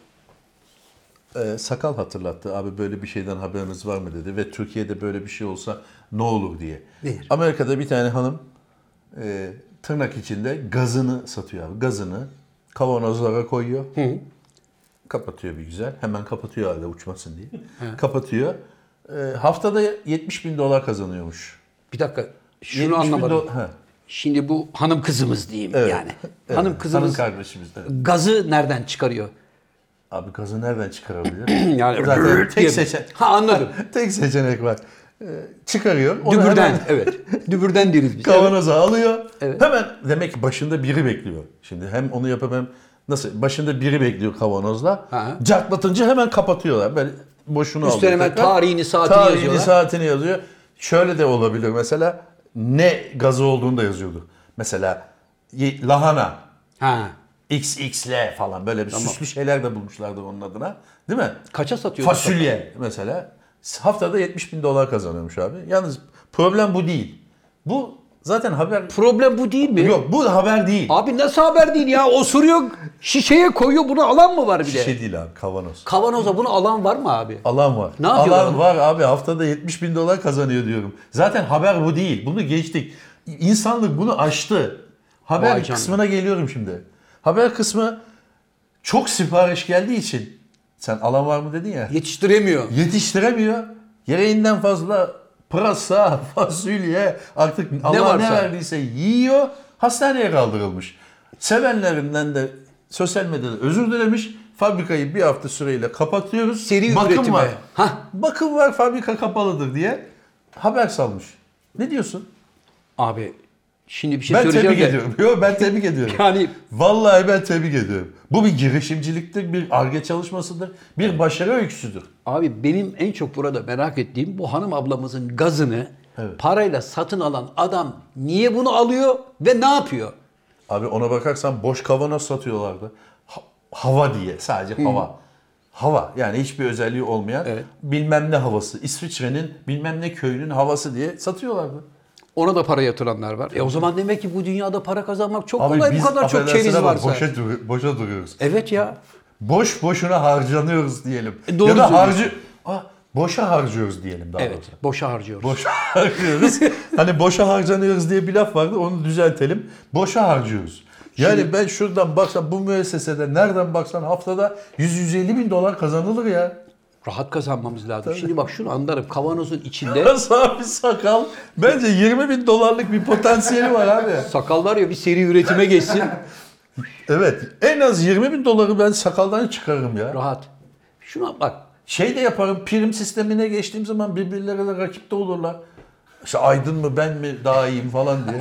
[SPEAKER 3] Ee, sakal hatırlattı. Abi böyle bir şeyden haberiniz var mı dedi ve Türkiye'de böyle bir şey olsa ne olur diye.
[SPEAKER 2] Nedir?
[SPEAKER 3] Amerika'da bir tane hanım e, tırnak içinde gazını satıyor abi. Gazını kavanozlara koyuyor. Kapatıyor bir güzel. Hemen kapatıyor hala uçmasın diye. kapatıyor. Ee, haftada 70 bin dolar kazanıyormuş.
[SPEAKER 2] Bir dakika
[SPEAKER 3] 70
[SPEAKER 2] şunu
[SPEAKER 3] bin
[SPEAKER 2] anlamadım.
[SPEAKER 3] do- ha,
[SPEAKER 2] Şimdi bu hanım kızımız diyeyim
[SPEAKER 3] evet.
[SPEAKER 2] yani.
[SPEAKER 3] Evet,
[SPEAKER 2] Hanım kızımız
[SPEAKER 3] Hanım kardeşimiz. evet.
[SPEAKER 2] gazı nereden çıkarıyor?
[SPEAKER 3] Abi gazı nereden çıkarabilir?
[SPEAKER 2] [clears throat] Yani
[SPEAKER 3] Zaten tek
[SPEAKER 2] diye-
[SPEAKER 3] seçen,
[SPEAKER 2] Ha anladım.
[SPEAKER 3] tek seçenek var. Ee, çıkarıyor. onu hemen-
[SPEAKER 2] Dübürden
[SPEAKER 3] [laughs]
[SPEAKER 2] evet. Dübürden deriz biz.
[SPEAKER 3] Kavanoza alıyor.
[SPEAKER 2] Evet.
[SPEAKER 3] Hemen demek ki başında biri bekliyor. Şimdi hem onu yapıp hem nasıl başında biri bekliyor kavanozla.
[SPEAKER 2] Ha.
[SPEAKER 3] Cartlatınca hemen kapatıyorlar. Böyle boşuna
[SPEAKER 2] Üstüne
[SPEAKER 3] alıyor
[SPEAKER 2] hemen
[SPEAKER 3] tekrar.
[SPEAKER 2] tarihini, saatini
[SPEAKER 3] tarihini,
[SPEAKER 2] yazıyorlar.
[SPEAKER 3] saatini yazıyor. Şöyle de olabilir mesela ne gazı olduğunu da yazıyordu. Mesela ye- lahana
[SPEAKER 2] Ha.
[SPEAKER 3] XXL falan böyle bir süslü şeyler de bulmuşlardı onun adına. Değil mi?
[SPEAKER 2] Kaça satıyorsun?
[SPEAKER 3] Fasulye mesela haftada 70 bin dolar kazanıyormuş abi. Yalnız problem bu değil. Bu zaten haber
[SPEAKER 2] Problem bu değil mi?
[SPEAKER 3] Yok bu haber değil.
[SPEAKER 2] Abi nasıl haber değil ya? Osuruyor, şişeye koyuyor. Bunu alan mı var bir de?
[SPEAKER 3] Şişe şey değil abi kavanoz.
[SPEAKER 2] Kavanoza bunu alan var mı abi?
[SPEAKER 3] Alan var.
[SPEAKER 2] Ne yapıyorlar
[SPEAKER 3] Alan
[SPEAKER 2] abi?
[SPEAKER 3] var abi haftada 70 bin dolar kazanıyor diyorum. Zaten haber bu değil. Bunu geçtik. İnsanlık bunu aştı. Haber
[SPEAKER 2] Vay canına.
[SPEAKER 3] kısmına geliyorum şimdi. Haber kısmı çok sipariş geldiği için sen alan var mı dedin ya.
[SPEAKER 2] Yetiştiremiyor.
[SPEAKER 3] yetiştiremiyor. Gereğinden fazla pırasa, [laughs] fasulye artık Allah ne,
[SPEAKER 2] varsa.
[SPEAKER 3] verdiyse yiyor. Hastaneye kaldırılmış. Sevenlerinden de sosyal medyada özür dilemiş. Fabrikayı bir hafta süreyle kapatıyoruz.
[SPEAKER 2] Seri
[SPEAKER 3] Bakım
[SPEAKER 2] üretime.
[SPEAKER 3] var.
[SPEAKER 2] Hah.
[SPEAKER 3] Bakım var fabrika kapalıdır diye haber salmış. Ne diyorsun?
[SPEAKER 2] Abi şimdi bir şey
[SPEAKER 3] ben
[SPEAKER 2] söyleyeceğim
[SPEAKER 3] tebrik
[SPEAKER 2] de.
[SPEAKER 3] ediyorum. Yok ben tebrik ediyorum.
[SPEAKER 2] Yani
[SPEAKER 3] Vallahi ben tebrik ediyorum. Bu bir girişimciliktir, bir arge çalışmasıdır, bir başarı öyküsüdür.
[SPEAKER 2] abi benim en çok burada merak ettiğim bu hanım ablamızın gazını
[SPEAKER 3] Evet.
[SPEAKER 2] parayla satın alan adam niye bunu alıyor ve ne yapıyor?
[SPEAKER 3] Abi ona bakarsan boş kavanoz satıyorlardı. Ha- hava diye sadece hava. Hava yani hiçbir özelliği olmayan
[SPEAKER 2] Evet.
[SPEAKER 3] bilmem ne havası. İsviçre'nin bilmem ne köyünün havası diye satıyorlardı.
[SPEAKER 2] Ona da para yatıranlar var. E o zaman demek ki bu dünyada para kazanmak çok
[SPEAKER 3] Abi
[SPEAKER 2] kolay bu
[SPEAKER 3] biz
[SPEAKER 2] kadar çok
[SPEAKER 3] affedersin
[SPEAKER 2] çeliz
[SPEAKER 3] ama
[SPEAKER 2] varsa.
[SPEAKER 3] Boşa, duru- boşa duruyoruz.
[SPEAKER 2] Evet ya.
[SPEAKER 3] Boş boşuna harcanıyoruz diyelim.
[SPEAKER 2] E, doğru
[SPEAKER 3] ya da
[SPEAKER 2] söylüyorsun.
[SPEAKER 3] harcı... Ah, Boşa harcıyoruz diyelim daha
[SPEAKER 2] Evet,
[SPEAKER 3] doğrusu.
[SPEAKER 2] boşa harcıyoruz.
[SPEAKER 3] Boşa harcıyoruz. hani boşa harcanıyoruz diye bir laf vardı onu düzeltelim. Boşa harcıyoruz. Yani ben şuradan baksan bu müessesede nereden baksan haftada 100-150 bin dolar kazanılır ya.
[SPEAKER 2] Rahat kazanmamız lazım. Şimdi bak şunu anlarım. Kavanozun
[SPEAKER 3] [laughs]
[SPEAKER 2] içinde
[SPEAKER 3] Safi sakal bence 20 bin dolarlık bir potansiyeli var abi.
[SPEAKER 2] sakal var ya bir seri üretime
[SPEAKER 3] [laughs]
[SPEAKER 2] geçsin.
[SPEAKER 3] Evet en az 20 bin doları ben sakaldan çıkarırım ya.
[SPEAKER 2] Rahat. Şuna bak.
[SPEAKER 3] Şey de yaparım prim sistemine geçtiğim zaman birbirlerine rakip de olurlar. İşte Aydın mı ben mi daha iyiyim falan diye.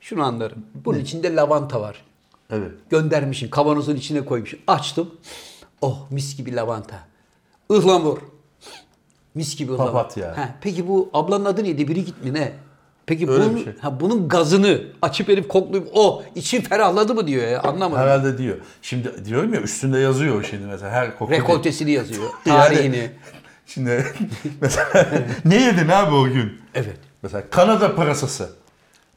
[SPEAKER 2] Şunu anlarım. Bunun içinde lavanta var.
[SPEAKER 3] Evet.
[SPEAKER 2] Göndermişim. Kavanozun içine koymuşum. Açtım. Oh mis gibi lavanta. Ihlamur. Mis gibi ıhlamur.
[SPEAKER 3] Papatya.
[SPEAKER 2] Ha, peki bu ablanın adı neydi? Biri git mi ne? Peki
[SPEAKER 3] Öyle
[SPEAKER 2] bunun,
[SPEAKER 3] bir şey.
[SPEAKER 2] ha, bunun gazını açıp herif koklayıp oh içim ferahladı mı diyor ya anlamadım.
[SPEAKER 3] Herhalde diyor. Şimdi diyorum ya üstünde yazıyor şimdi mesela her koku.
[SPEAKER 2] Rekoltesini yazıyor.
[SPEAKER 3] [laughs] Yani-
[SPEAKER 2] Tarihini.
[SPEAKER 3] Şimdi [laughs] mesela ne yedin abi o gün?
[SPEAKER 2] Evet.
[SPEAKER 3] Mesela Kanada parasası.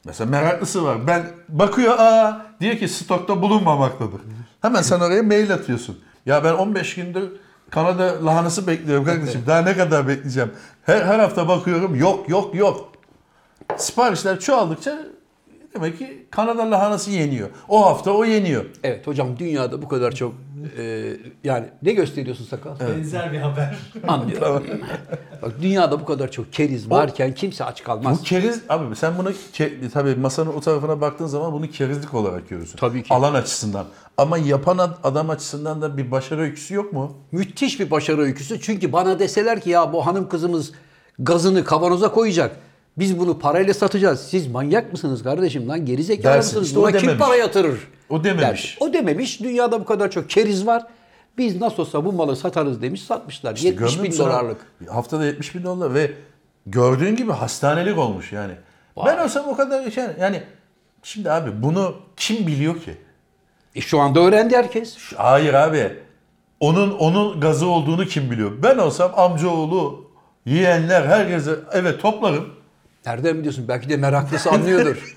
[SPEAKER 3] Mesela meraklısı var. Ben bakıyor aa diyor ki stokta bulunmamaktadır. Hemen sen oraya mail atıyorsun. Ya ben 15 gündür Kanada lahanası bekliyorum kardeşim. Daha ne kadar bekleyeceğim? Her, her hafta bakıyorum yok yok yok. Siparişler çoğaldıkça demek ki Kanada lahanası yeniyor. O hafta o yeniyor.
[SPEAKER 2] Evet hocam dünyada bu kadar çok e, yani ne gösteriyorsun sakal?
[SPEAKER 3] Ee,
[SPEAKER 4] Benzer bir haber. [laughs]
[SPEAKER 2] Anlıyorum. Bak dünyada bu kadar çok keriz varken kimse aç kalmaz.
[SPEAKER 3] Bu keriz abi sen bunu ke- tabii masanın o tarafına baktığın zaman bunu kerizlik olarak görürsün.
[SPEAKER 2] Tabii ki.
[SPEAKER 3] Alan açısından. Ama yapan ad- adam açısından da bir başarı öyküsü yok mu?
[SPEAKER 2] Müthiş bir başarı öyküsü. Çünkü bana deseler ki ya bu hanım kızımız gazını kavanoza koyacak. Biz bunu parayla satacağız. Siz manyak mısınız kardeşim lan? Geri zekalı
[SPEAKER 3] Dersin.
[SPEAKER 2] mısınız?
[SPEAKER 3] İşte o
[SPEAKER 2] Buna kim
[SPEAKER 3] dememiş.
[SPEAKER 2] para yatırır?
[SPEAKER 3] O dememiş.
[SPEAKER 2] Dersin. O dememiş. Dünyada bu kadar çok keriz var. Biz nasıl olsa bu malı satarız demiş. Satmışlar. 70
[SPEAKER 3] Gördün mü
[SPEAKER 2] bin
[SPEAKER 3] sen?
[SPEAKER 2] dolarlık.
[SPEAKER 3] Haftada 70 bin dolar ve gördüğün gibi hastanelik olmuş yani. Ben olsam o kadar şey yani şimdi abi bunu kim biliyor ki?
[SPEAKER 2] E şu anda öğrendi herkes.
[SPEAKER 3] Hayır abi. Onun onun gazı olduğunu kim biliyor? Ben olsam amcaoğlu, yeğenler herkese eve toplarım.
[SPEAKER 2] Nereden biliyorsun? Belki de meraklısı
[SPEAKER 3] [laughs]
[SPEAKER 2] anlıyordur.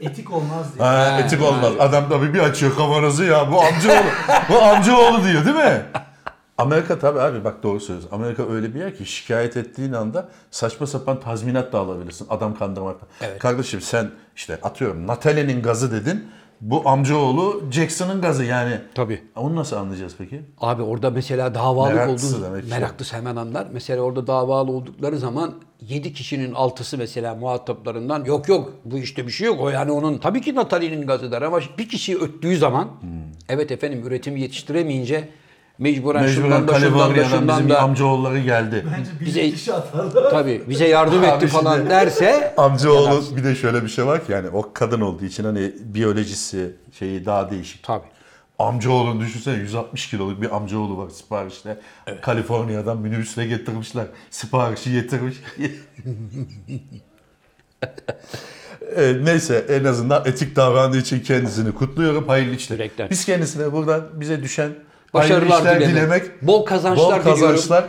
[SPEAKER 4] Etik olmaz diye.
[SPEAKER 3] Ha, etik olmaz. Adam tabii bir açıyor kavanozu ya bu amcaoğlu. bu amcaoğlu diyor değil mi? Amerika tabii abi bak doğru söylüyorsun. Amerika öyle bir yer ki şikayet ettiğin anda saçma sapan tazminat da alabilirsin. Adam kandırmaktan. Kardeşim sen işte atıyorum Natale'nin gazı dedin. Bu amcaoğlu Jackson'ın gazı yani.
[SPEAKER 2] Tabii.
[SPEAKER 3] Onu nasıl anlayacağız peki?
[SPEAKER 2] Abi orada mesela davalık
[SPEAKER 3] Meraklısı
[SPEAKER 2] olduğu
[SPEAKER 3] demek ki.
[SPEAKER 2] meraklısı hemen anlar. Mesela orada davalı oldukları zaman 7 kişinin altısı mesela muhataplarından yok yok bu işte bir şey yok. O yani onun tabii ki Natali'nin gazıdır ama bir kişi öttüğü zaman
[SPEAKER 3] Hmm.
[SPEAKER 2] evet efendim üretimi yetiştiremeyince mecburen,
[SPEAKER 3] Mecburen
[SPEAKER 2] şundan da şundan da
[SPEAKER 3] Kaliforniya'dan bizim
[SPEAKER 2] şundan da
[SPEAKER 3] amcaoğulları geldi.
[SPEAKER 4] Bence bir
[SPEAKER 2] bize-
[SPEAKER 4] kişi hatalı. [laughs]
[SPEAKER 2] tabii bize yardım
[SPEAKER 3] [laughs] Abi
[SPEAKER 2] etti falan
[SPEAKER 3] şimdi-
[SPEAKER 2] derse
[SPEAKER 3] Amcaoğlu bir de şöyle bir şey var ki yani o kadın olduğu için hani biyolojisi şeyi daha değişik.
[SPEAKER 2] tabii.
[SPEAKER 3] Amcaoğlunu düşünsene 160 kiloluk bir amcaoğlu var siparişte. Kaliforniya'dan minibüsle getirmişler. Siparişi getirmiş. E, neyse en azından etik davrandığı için kendisini kutluyorum. Hayırlı işler.
[SPEAKER 2] Yürekten.
[SPEAKER 3] Biz kendisine buradan bize düşen
[SPEAKER 2] Başarılar
[SPEAKER 3] hayırlı işler
[SPEAKER 2] dilemek.
[SPEAKER 3] dilemek.
[SPEAKER 2] Bol kazançlar
[SPEAKER 3] Bol kazançlar.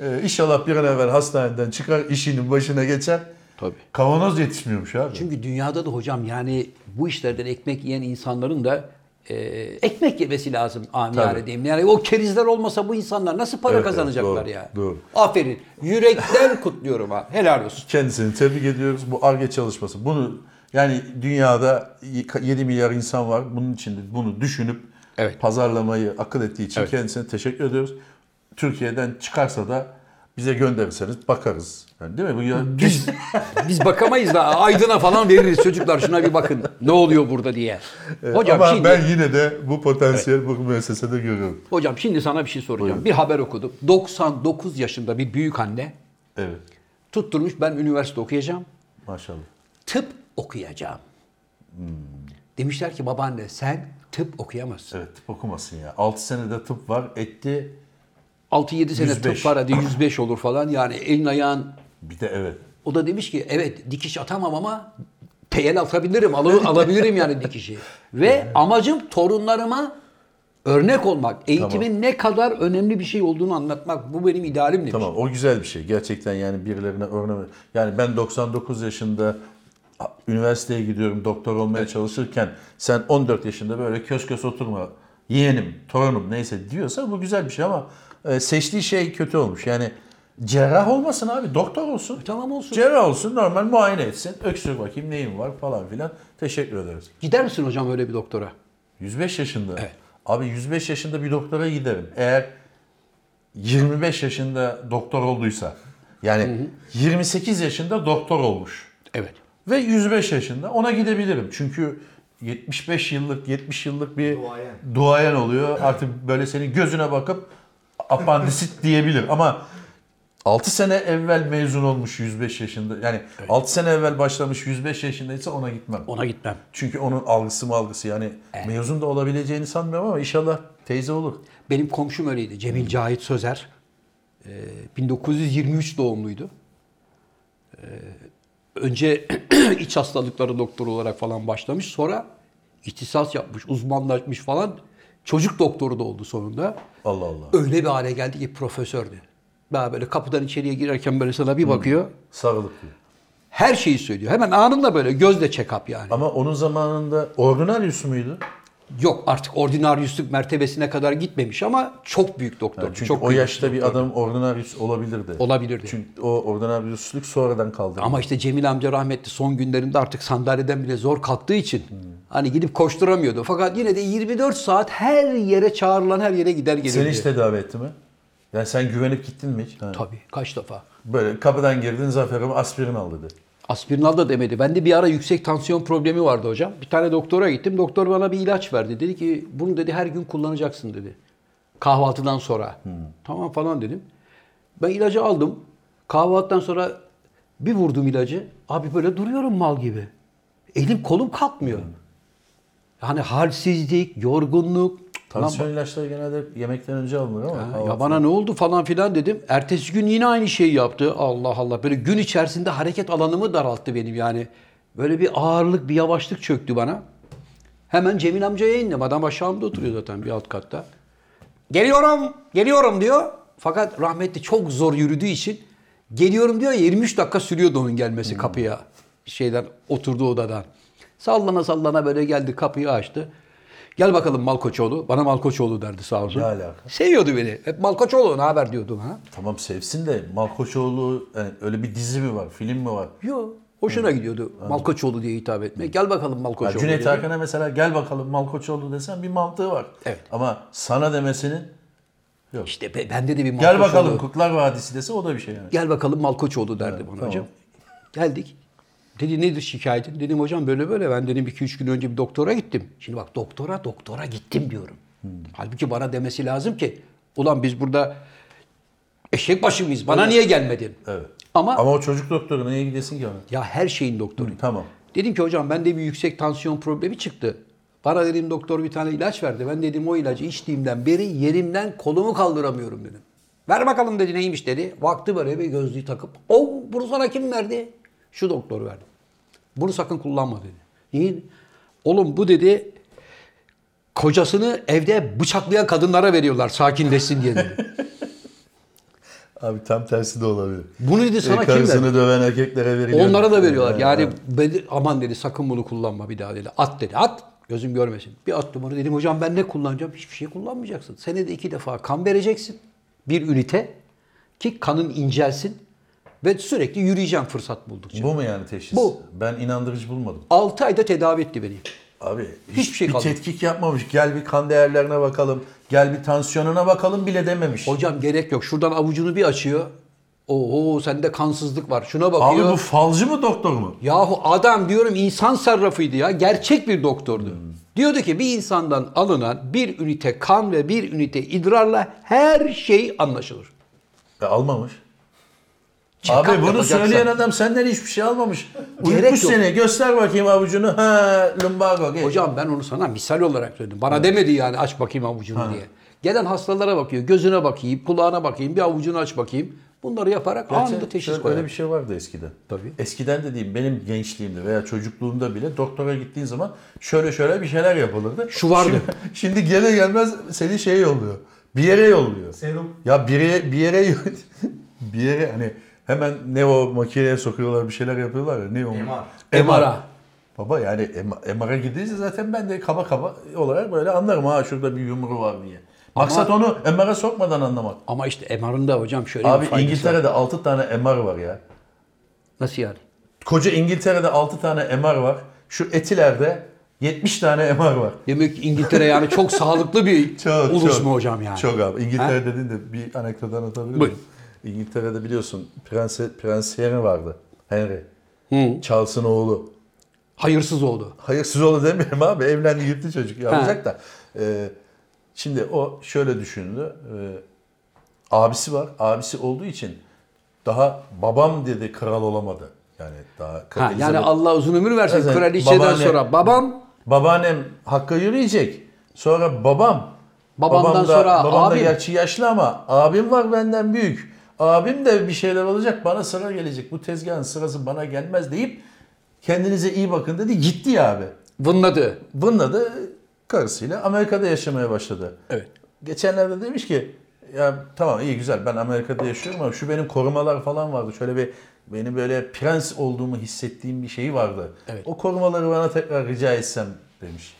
[SPEAKER 3] E, inşallah bir an evvel hastaneden çıkar, işinin başına geçer.
[SPEAKER 2] Tabii.
[SPEAKER 3] Kavanoz yetişmiyormuş abi.
[SPEAKER 2] Çünkü dünyada da hocam yani bu işlerden ekmek yiyen insanların da e, ekmek yemesi lazım amiyane
[SPEAKER 3] Tabii.
[SPEAKER 2] diyeyim. Yani o kerizler olmasa bu insanlar nasıl para
[SPEAKER 3] Evet, evet,
[SPEAKER 2] kazanacaklar
[SPEAKER 3] doğru,
[SPEAKER 2] ya?
[SPEAKER 3] doğru.
[SPEAKER 2] Aferin. Yürekten [laughs] kutluyorum ha. Helal olsun.
[SPEAKER 3] Kendisini tebrik ediyoruz. Bu ARGE çalışması. Bunu yani dünyada 7 milyar insan var. Bunun için de bunu düşünüp
[SPEAKER 2] Evet.
[SPEAKER 3] pazarlamayı akıl ettiği için
[SPEAKER 2] Evet.
[SPEAKER 3] kendisine teşekkür ediyoruz. Türkiye'den çıkarsa da bize gönderirseniz bakarız. Yani değil mi? Bu ya,
[SPEAKER 2] Biz, biz bakamayız da Aydın'a falan veririz çocuklar şuna bir bakın. Ne oluyor burada diye. [laughs] Hocam
[SPEAKER 3] Ama
[SPEAKER 2] şimdi
[SPEAKER 3] ben yine de bu potansiyel bu müessesede görüyorum.
[SPEAKER 2] hocam şimdi sana bir şey soracağım. Bir haber okudum. 99 yaşında bir büyük anne
[SPEAKER 3] Evet.
[SPEAKER 2] tutturmuş ben üniversite okuyacağım.
[SPEAKER 3] Maşallah.
[SPEAKER 2] tıp okuyacağım. Demişler ki babaanne sen tıp okuyamazsın.
[SPEAKER 3] Evet tıp okumasın ya. 6 senede tıp var. Etti.
[SPEAKER 2] 6-7 sene
[SPEAKER 3] 105.
[SPEAKER 2] tıp var hadi 105 olur falan yani elin ayağın.
[SPEAKER 3] Bir de evet.
[SPEAKER 2] O da demiş ki evet dikiş atamam ama peyel atabilirim, al- alabilirim yani dikişi. Ve amacım torunlarıma örnek olmak, eğitimin ne kadar önemli bir şey olduğunu anlatmak. Bu benim idealim demiş.
[SPEAKER 3] Tamam o güzel bir şey. Gerçekten yani birilerine örnek. Yani ben 99 yaşında a- üniversiteye gidiyorum doktor olmaya çalışırken sen 14 yaşında böyle kös kös oturma yeğenim, torunum neyse diyorsa bu güzel bir şey ama e, seçtiği şey kötü olmuş. Yani cerrah olmasın abi doktor olsun.
[SPEAKER 2] Tamam olsun.
[SPEAKER 3] Cerrah olsun normal muayene etsin. Öksür bakayım neyin var falan filan. Teşekkür ederiz.
[SPEAKER 2] Gider misin hocam öyle bir doktora?
[SPEAKER 3] 105 yaşında. Abi 105 yaşında bir doktora giderim. Eğer 25 yaşında doktor olduysa. Yani 28 yaşında doktor olmuş.
[SPEAKER 2] Evet.
[SPEAKER 3] Ve 105 yaşında ona gidebilirim. Çünkü 75 yıllık, 70 yıllık bir
[SPEAKER 5] Duayen.
[SPEAKER 3] duayen oluyor. Artık böyle senin gözüne bakıp apandisit diyebilir. Ama 6 sene evvel mezun olmuş 105 yaşında. Yani 6 sene evvel başlamış 105 yaşındaysa ona gitmem.
[SPEAKER 2] Ona gitmem.
[SPEAKER 3] Çünkü onun algısı mı algısı yani mezun da olabileceğini sanmıyorum ama inşallah teyze olur.
[SPEAKER 2] Benim komşum öyleydi. Cemil Cahit Sözer. Ee, 1923 doğumluydu. Ee, önce [clears throat] iç hastalıkları doktoru olarak falan başlamış. Sonra ihtisas yapmış, uzmanlaşmış falan. Çocuk doktoru da oldu sonunda.
[SPEAKER 3] Allah Allah.
[SPEAKER 2] Öyle bir hale geldi ki profesördü. Daha böyle kapıdan içeriye girerken böyle sana bir bakıyor.
[SPEAKER 3] Sağlıklı.
[SPEAKER 2] Her şeyi söylüyor. Hemen anında böyle gözle check-up yani.
[SPEAKER 3] Ama onun zamanında ordinaryus muydu?
[SPEAKER 2] Yok artık ordinaryüslük mertebesine kadar gitmemiş ama çok büyük doktor.
[SPEAKER 3] Çünkü
[SPEAKER 2] çok
[SPEAKER 3] o
[SPEAKER 2] büyük
[SPEAKER 3] yaşta bir
[SPEAKER 2] doktor.
[SPEAKER 3] adam ordinaryus olabilirdi.
[SPEAKER 2] Olabilirdi.
[SPEAKER 3] Çünkü o ordinaryusluk sonradan kaldı.
[SPEAKER 2] Ama işte Cemil amca rahmetli son günlerinde artık sandalyeden bile zor kalktığı için hani gidip koşturamıyordu. Fakat yine de 24 saat her yere çağrılan her yere gider gelirdi.
[SPEAKER 3] Seni hiç tedavi etti mi? Yani sen güvenip gittin mi hiç? Ha.
[SPEAKER 2] Tabii kaç defa.
[SPEAKER 3] Böyle kapıdan girdin zaferim aspirin al dedi.
[SPEAKER 2] Aspirin al da demedi. Bende bir ara yüksek tansiyon problemi vardı hocam. Bir tane doktora gittim. Doktor bana bir ilaç verdi. Dedi ki bunu dedi her gün kullanacaksın dedi. Kahvaltıdan sonra. Tamam falan dedim. Ben ilacı aldım. Kahvaltıdan sonra bir vurdum ilacı. Abi böyle duruyorum mal gibi. Elim kolum kalkmıyor. Yani halsizlik, yorgunluk. Cık, lan
[SPEAKER 3] Tansiyon ilaçları genelde yemekten önce alınır ama.
[SPEAKER 2] Ha,
[SPEAKER 3] kahvaltı-
[SPEAKER 2] ya bana ne oldu falan filan dedim. Ertesi gün yine aynı şeyi yaptı. Allah Allah. Böyle gün içerisinde hareket alanımı daralttı benim yani. Böyle bir ağırlık, bir yavaşlık çöktü bana. Hemen Cemil amcaya indim. Adam aşağımda oturuyor zaten bir alt katta. Geliyorum, geliyorum diyor. Fakat rahmetli çok zor yürüdüğü için geliyorum diyor. ya, 23 dakika sürüyordu onun
[SPEAKER 3] Hmm.
[SPEAKER 2] gelmesi kapıya. Şeyden oturduğu odadan. Sallana sallana böyle geldi kapıyı açtı. Gel bakalım Malkoçoğlu. Bana Malkoçoğlu derdi sağ olsun.
[SPEAKER 3] Ne alaka?
[SPEAKER 2] Seviyordu beni. Hep Malkoçoğlu ne haber diyordum ha.
[SPEAKER 3] Tamam sevsin de Malkoçoğlu yani öyle bir dizi mi var, film mi var?
[SPEAKER 2] Yok. Hoşuna gidiyordu Malkoçoğlu diye hitap etmek. Gel bakalım
[SPEAKER 3] Ya
[SPEAKER 2] Malkoçoğlu.
[SPEAKER 3] Cüneyt
[SPEAKER 2] dedi.
[SPEAKER 3] Hakan'a mesela gel bakalım Malkoçoğlu desen bir mantığı var.
[SPEAKER 2] Evet.
[SPEAKER 3] Ama sana demesinin
[SPEAKER 2] İşte be- bende de bir Malkoçoğlu.
[SPEAKER 3] gel bakalım Kutlar Vadisi dese o da bir şey yani.
[SPEAKER 2] Gel bakalım Malkoçoğlu derdi bana
[SPEAKER 3] tamam.
[SPEAKER 2] hocam. Geldik. Dedi nedir şikayetin? Dedim hocam böyle böyle ben dedim 2-3 gün önce bir doktora gittim. Şimdi bak doktora doktora gittim diyorum.
[SPEAKER 3] Hmm.
[SPEAKER 2] Halbuki bana demesi lazım ki ulan biz burada eşek başı mıyız? Bana niye gelmedin?
[SPEAKER 3] Evet.
[SPEAKER 2] Ama,
[SPEAKER 3] Ama o çocuk doktoru niye gidesin ki ona?
[SPEAKER 2] ya her şeyin doktoru.
[SPEAKER 3] Tamam.
[SPEAKER 2] Dedim ki hocam bende bir yüksek tansiyon problemi çıktı. Bana dedim doktor bir tane ilaç verdi. Ben dedim o ilacı içtiğimden beri yerimden kolumu kaldıramıyorum dedim. Ver bakalım dedi neymiş dedi. Baktı böyle bir gözlüğü takıp. O bunu sana kim verdi? Şu doktor verdi. Bunu sakın kullanma dedi. Niye? Oğlum bu dedi kocasını evde bıçaklayan kadınlara veriyorlar sakinleşsin diye dedi.
[SPEAKER 3] Abi tam tersi de olabilir. E,
[SPEAKER 2] Bunu dedi sana kim verdi?
[SPEAKER 3] Karısını döven erkeklere veriyor.
[SPEAKER 2] Onlara da veriyorlar. Yani beni- aman dedi sakın bunu kullanma bir daha dedi. At dedi at. Gözüm görmesin. Bir attım onu dedim hocam ben ne kullanacağım? Hiçbir şey kullanmayacaksın. Senede iki defa kan vereceksin. Bir ünite ki kanın incelsin. Ve sürekli yürüyeceğim fırsat buldukça.
[SPEAKER 3] Bu mu yani teşhis?
[SPEAKER 2] Bu.
[SPEAKER 3] Ben inandırıcı bulmadım.
[SPEAKER 2] 6 ayda tedavi etti beni.
[SPEAKER 3] Abi
[SPEAKER 2] Hiçbir şey
[SPEAKER 3] bir
[SPEAKER 2] kalmadı.
[SPEAKER 3] tetkik yapmamış. Gel bir kan değerlerine bakalım. Gel bir tansiyonuna bakalım bile dememiş.
[SPEAKER 2] Hocam gerek yok. Şuradan avucunu bir açıyor. Oo sende kansızlık var. Şuna
[SPEAKER 3] Abi
[SPEAKER 2] bakıyor.
[SPEAKER 3] bu falcı mı doktor mu?
[SPEAKER 2] Yahu adam diyorum insan sarrafıydı ya. Gerçek bir doktordu. Diyordu ki bir insandan alınan bir ünite kan ve bir ünite idrarla her şey anlaşılır.
[SPEAKER 3] E, almamış.
[SPEAKER 2] Check-up
[SPEAKER 3] Abi bunu
[SPEAKER 2] yapacaksan-
[SPEAKER 3] söyleyen adam senden hiçbir şey almamış.
[SPEAKER 2] Gerek
[SPEAKER 3] Uyutmuş
[SPEAKER 2] yok.
[SPEAKER 3] seni. Göster bakayım avucunu. Ha, lumbago. Geç.
[SPEAKER 2] Hocam ben onu sana misal olarak söyledim. Bana demedi yani aç bakayım avucunu diye. Gelen hastalara bakıyor. Gözüne bakayım, kulağına bakayım, bir avucunu aç bakayım. Bunları yaparak
[SPEAKER 3] Gerçi
[SPEAKER 2] anında teşhis
[SPEAKER 3] şöyle-
[SPEAKER 2] koyar.
[SPEAKER 3] Öyle bir şey vardı eskiden.
[SPEAKER 2] Tabii.
[SPEAKER 3] Eskiden dediğim benim gençliğimde veya çocukluğumda bile doktora gittiğin zaman şöyle şöyle bir şeyler yapılırdı.
[SPEAKER 2] Şu vardı.
[SPEAKER 3] Şimdi, [laughs] şimdi gele gelmez seni şeye yolluyor. Bir yere yolluyor.
[SPEAKER 4] Serum.
[SPEAKER 3] Ya bir yere, bir yere, [laughs] bir yere hani hemen ne o makineye sokuyorlar bir şeyler yapıyorlar ya. Ne o? şey
[SPEAKER 2] MR. MR'a.
[SPEAKER 3] Baba yani MR'a gidince zaten ben de kaba kaba olarak böyle anlarım ha şurada bir yumru var diye. Maksat onu MR'a sokmadan anlamak.
[SPEAKER 2] Ama işte MR'ın da hocam şöyle bir
[SPEAKER 3] Abi
[SPEAKER 2] faydası var.
[SPEAKER 3] İngiltere'de 6 tane MR var ya.
[SPEAKER 2] Nasıl yani?
[SPEAKER 3] Koca İngiltere'de 6 tane MR var. Şu etilerde 70 tane MR var.
[SPEAKER 2] Demek ki İngiltere yani çok sağlıklı bir
[SPEAKER 3] [laughs] Çok,
[SPEAKER 2] ulus
[SPEAKER 3] çok.
[SPEAKER 2] mu hocam yani?
[SPEAKER 3] Çok abi. İngiltere dediğin de bir anekdot anlatabilir
[SPEAKER 2] Buyur.
[SPEAKER 3] miyim? İngiltere'de biliyorsun Prens, Prens Henry vardı. Henry. Charles'ın oğlu.
[SPEAKER 2] Hayırsız oldu.
[SPEAKER 3] Hayırsız oğlu demiyorum abi. Evlendi gitti çocuk yapacak da. Ee, şimdi o şöyle düşündü. Ee, abisi var. Abisi olduğu için daha babam dedi kral olamadı. Yani daha
[SPEAKER 2] Ha,
[SPEAKER 3] Elizabeth-
[SPEAKER 2] yani Allah uzun ömür versin
[SPEAKER 3] Evet,
[SPEAKER 2] kraliçeden
[SPEAKER 3] babaanne-
[SPEAKER 2] sonra babam,
[SPEAKER 3] Babaannem Hakk'a yürüyecek. Sonra babam.
[SPEAKER 2] Babamdan
[SPEAKER 3] babam da,
[SPEAKER 2] sonra
[SPEAKER 3] babam da
[SPEAKER 2] abim.
[SPEAKER 3] gerçi yaşlı ama abim var benden büyük. Abim de bir şeyler olacak bana sıra gelecek. Bu tezgahın sırası bana gelmez deyip kendinize iyi bakın dedi. Gitti ya abi.
[SPEAKER 2] vınladı.
[SPEAKER 3] Bununla da karısıyla Amerika'da yaşamaya başladı.
[SPEAKER 2] Evet.
[SPEAKER 3] Geçenlerde demiş ki ya tamam iyi güzel ben Amerika'da yaşıyorum ama şu benim korumalar falan vardı. Şöyle bir benim böyle prens olduğumu hissettiğim bir şey vardı.
[SPEAKER 2] Evet.
[SPEAKER 3] O korumaları bana tekrar rica etsem demiş.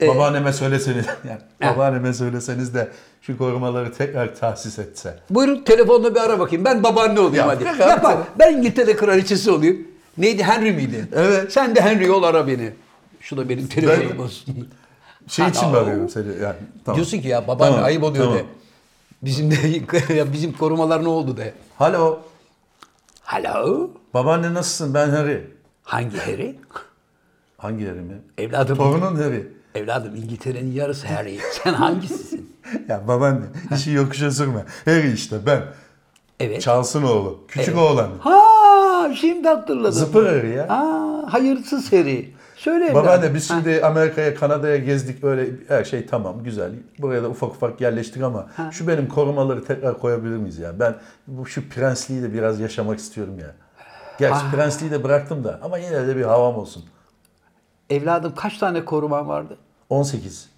[SPEAKER 2] Ee,
[SPEAKER 3] babaanneme söyleseniz [laughs] yani babaanneme söyleseniz de şu korumaları tekrar tahsis etse.
[SPEAKER 2] Buyurun telefonla bir ara bakayım. Ben babaanne olayım
[SPEAKER 3] Ya,
[SPEAKER 2] hadi.
[SPEAKER 3] bırak
[SPEAKER 2] Yap
[SPEAKER 3] abi.
[SPEAKER 2] bak, ben İngiltere kraliçesi olayım. Neydi Henry miydi?
[SPEAKER 3] Evet.
[SPEAKER 2] Sen de Henry ol ara beni. Şu da benim telefonum
[SPEAKER 3] Ben-
[SPEAKER 2] olsun.
[SPEAKER 3] Şey
[SPEAKER 2] Ha,
[SPEAKER 3] için mi
[SPEAKER 2] o-
[SPEAKER 3] arıyorum seni yani? Tamam.
[SPEAKER 2] Diyorsun ki ya babaanne
[SPEAKER 3] Tamam,
[SPEAKER 2] ayıp oluyor
[SPEAKER 3] tamam.
[SPEAKER 2] de. Bizim de [laughs] ya bizim korumalar ne oldu de.
[SPEAKER 3] Halo
[SPEAKER 2] Hello?
[SPEAKER 3] babaanne nasılsın ben Harry.
[SPEAKER 2] Hangi Harry?
[SPEAKER 3] Hangi Harry mi?
[SPEAKER 2] Evladım.
[SPEAKER 3] Torunun Harry.
[SPEAKER 2] Evladım İngiltere'nin yarısı Harry. Sen
[SPEAKER 3] [laughs]
[SPEAKER 2] hangisisin?
[SPEAKER 3] Ya babaanne işi yokuşa sürme. Harry işte ben.
[SPEAKER 2] Evet.
[SPEAKER 3] Charles'ın oğlu. Küçük oğlan.
[SPEAKER 2] ha şimdi hatırladım.
[SPEAKER 3] Zıpır Harry ya.
[SPEAKER 2] Ha, hayırsız Harry. Söyle evladım.
[SPEAKER 3] Babaanne biz şimdi Amerika'ya, Kanada'ya gezdik öyle her şey tamam güzel. Buraya da ufak ufak yerleştik ama şu benim korumaları tekrar koyabilir miyiz ya? Ben bu şu prensliği de biraz yaşamak istiyorum ya. Gerçi prensliği de bıraktım da ama yine de bir havam olsun.
[SPEAKER 2] Evladım kaç tane koruman vardı?
[SPEAKER 3] 18.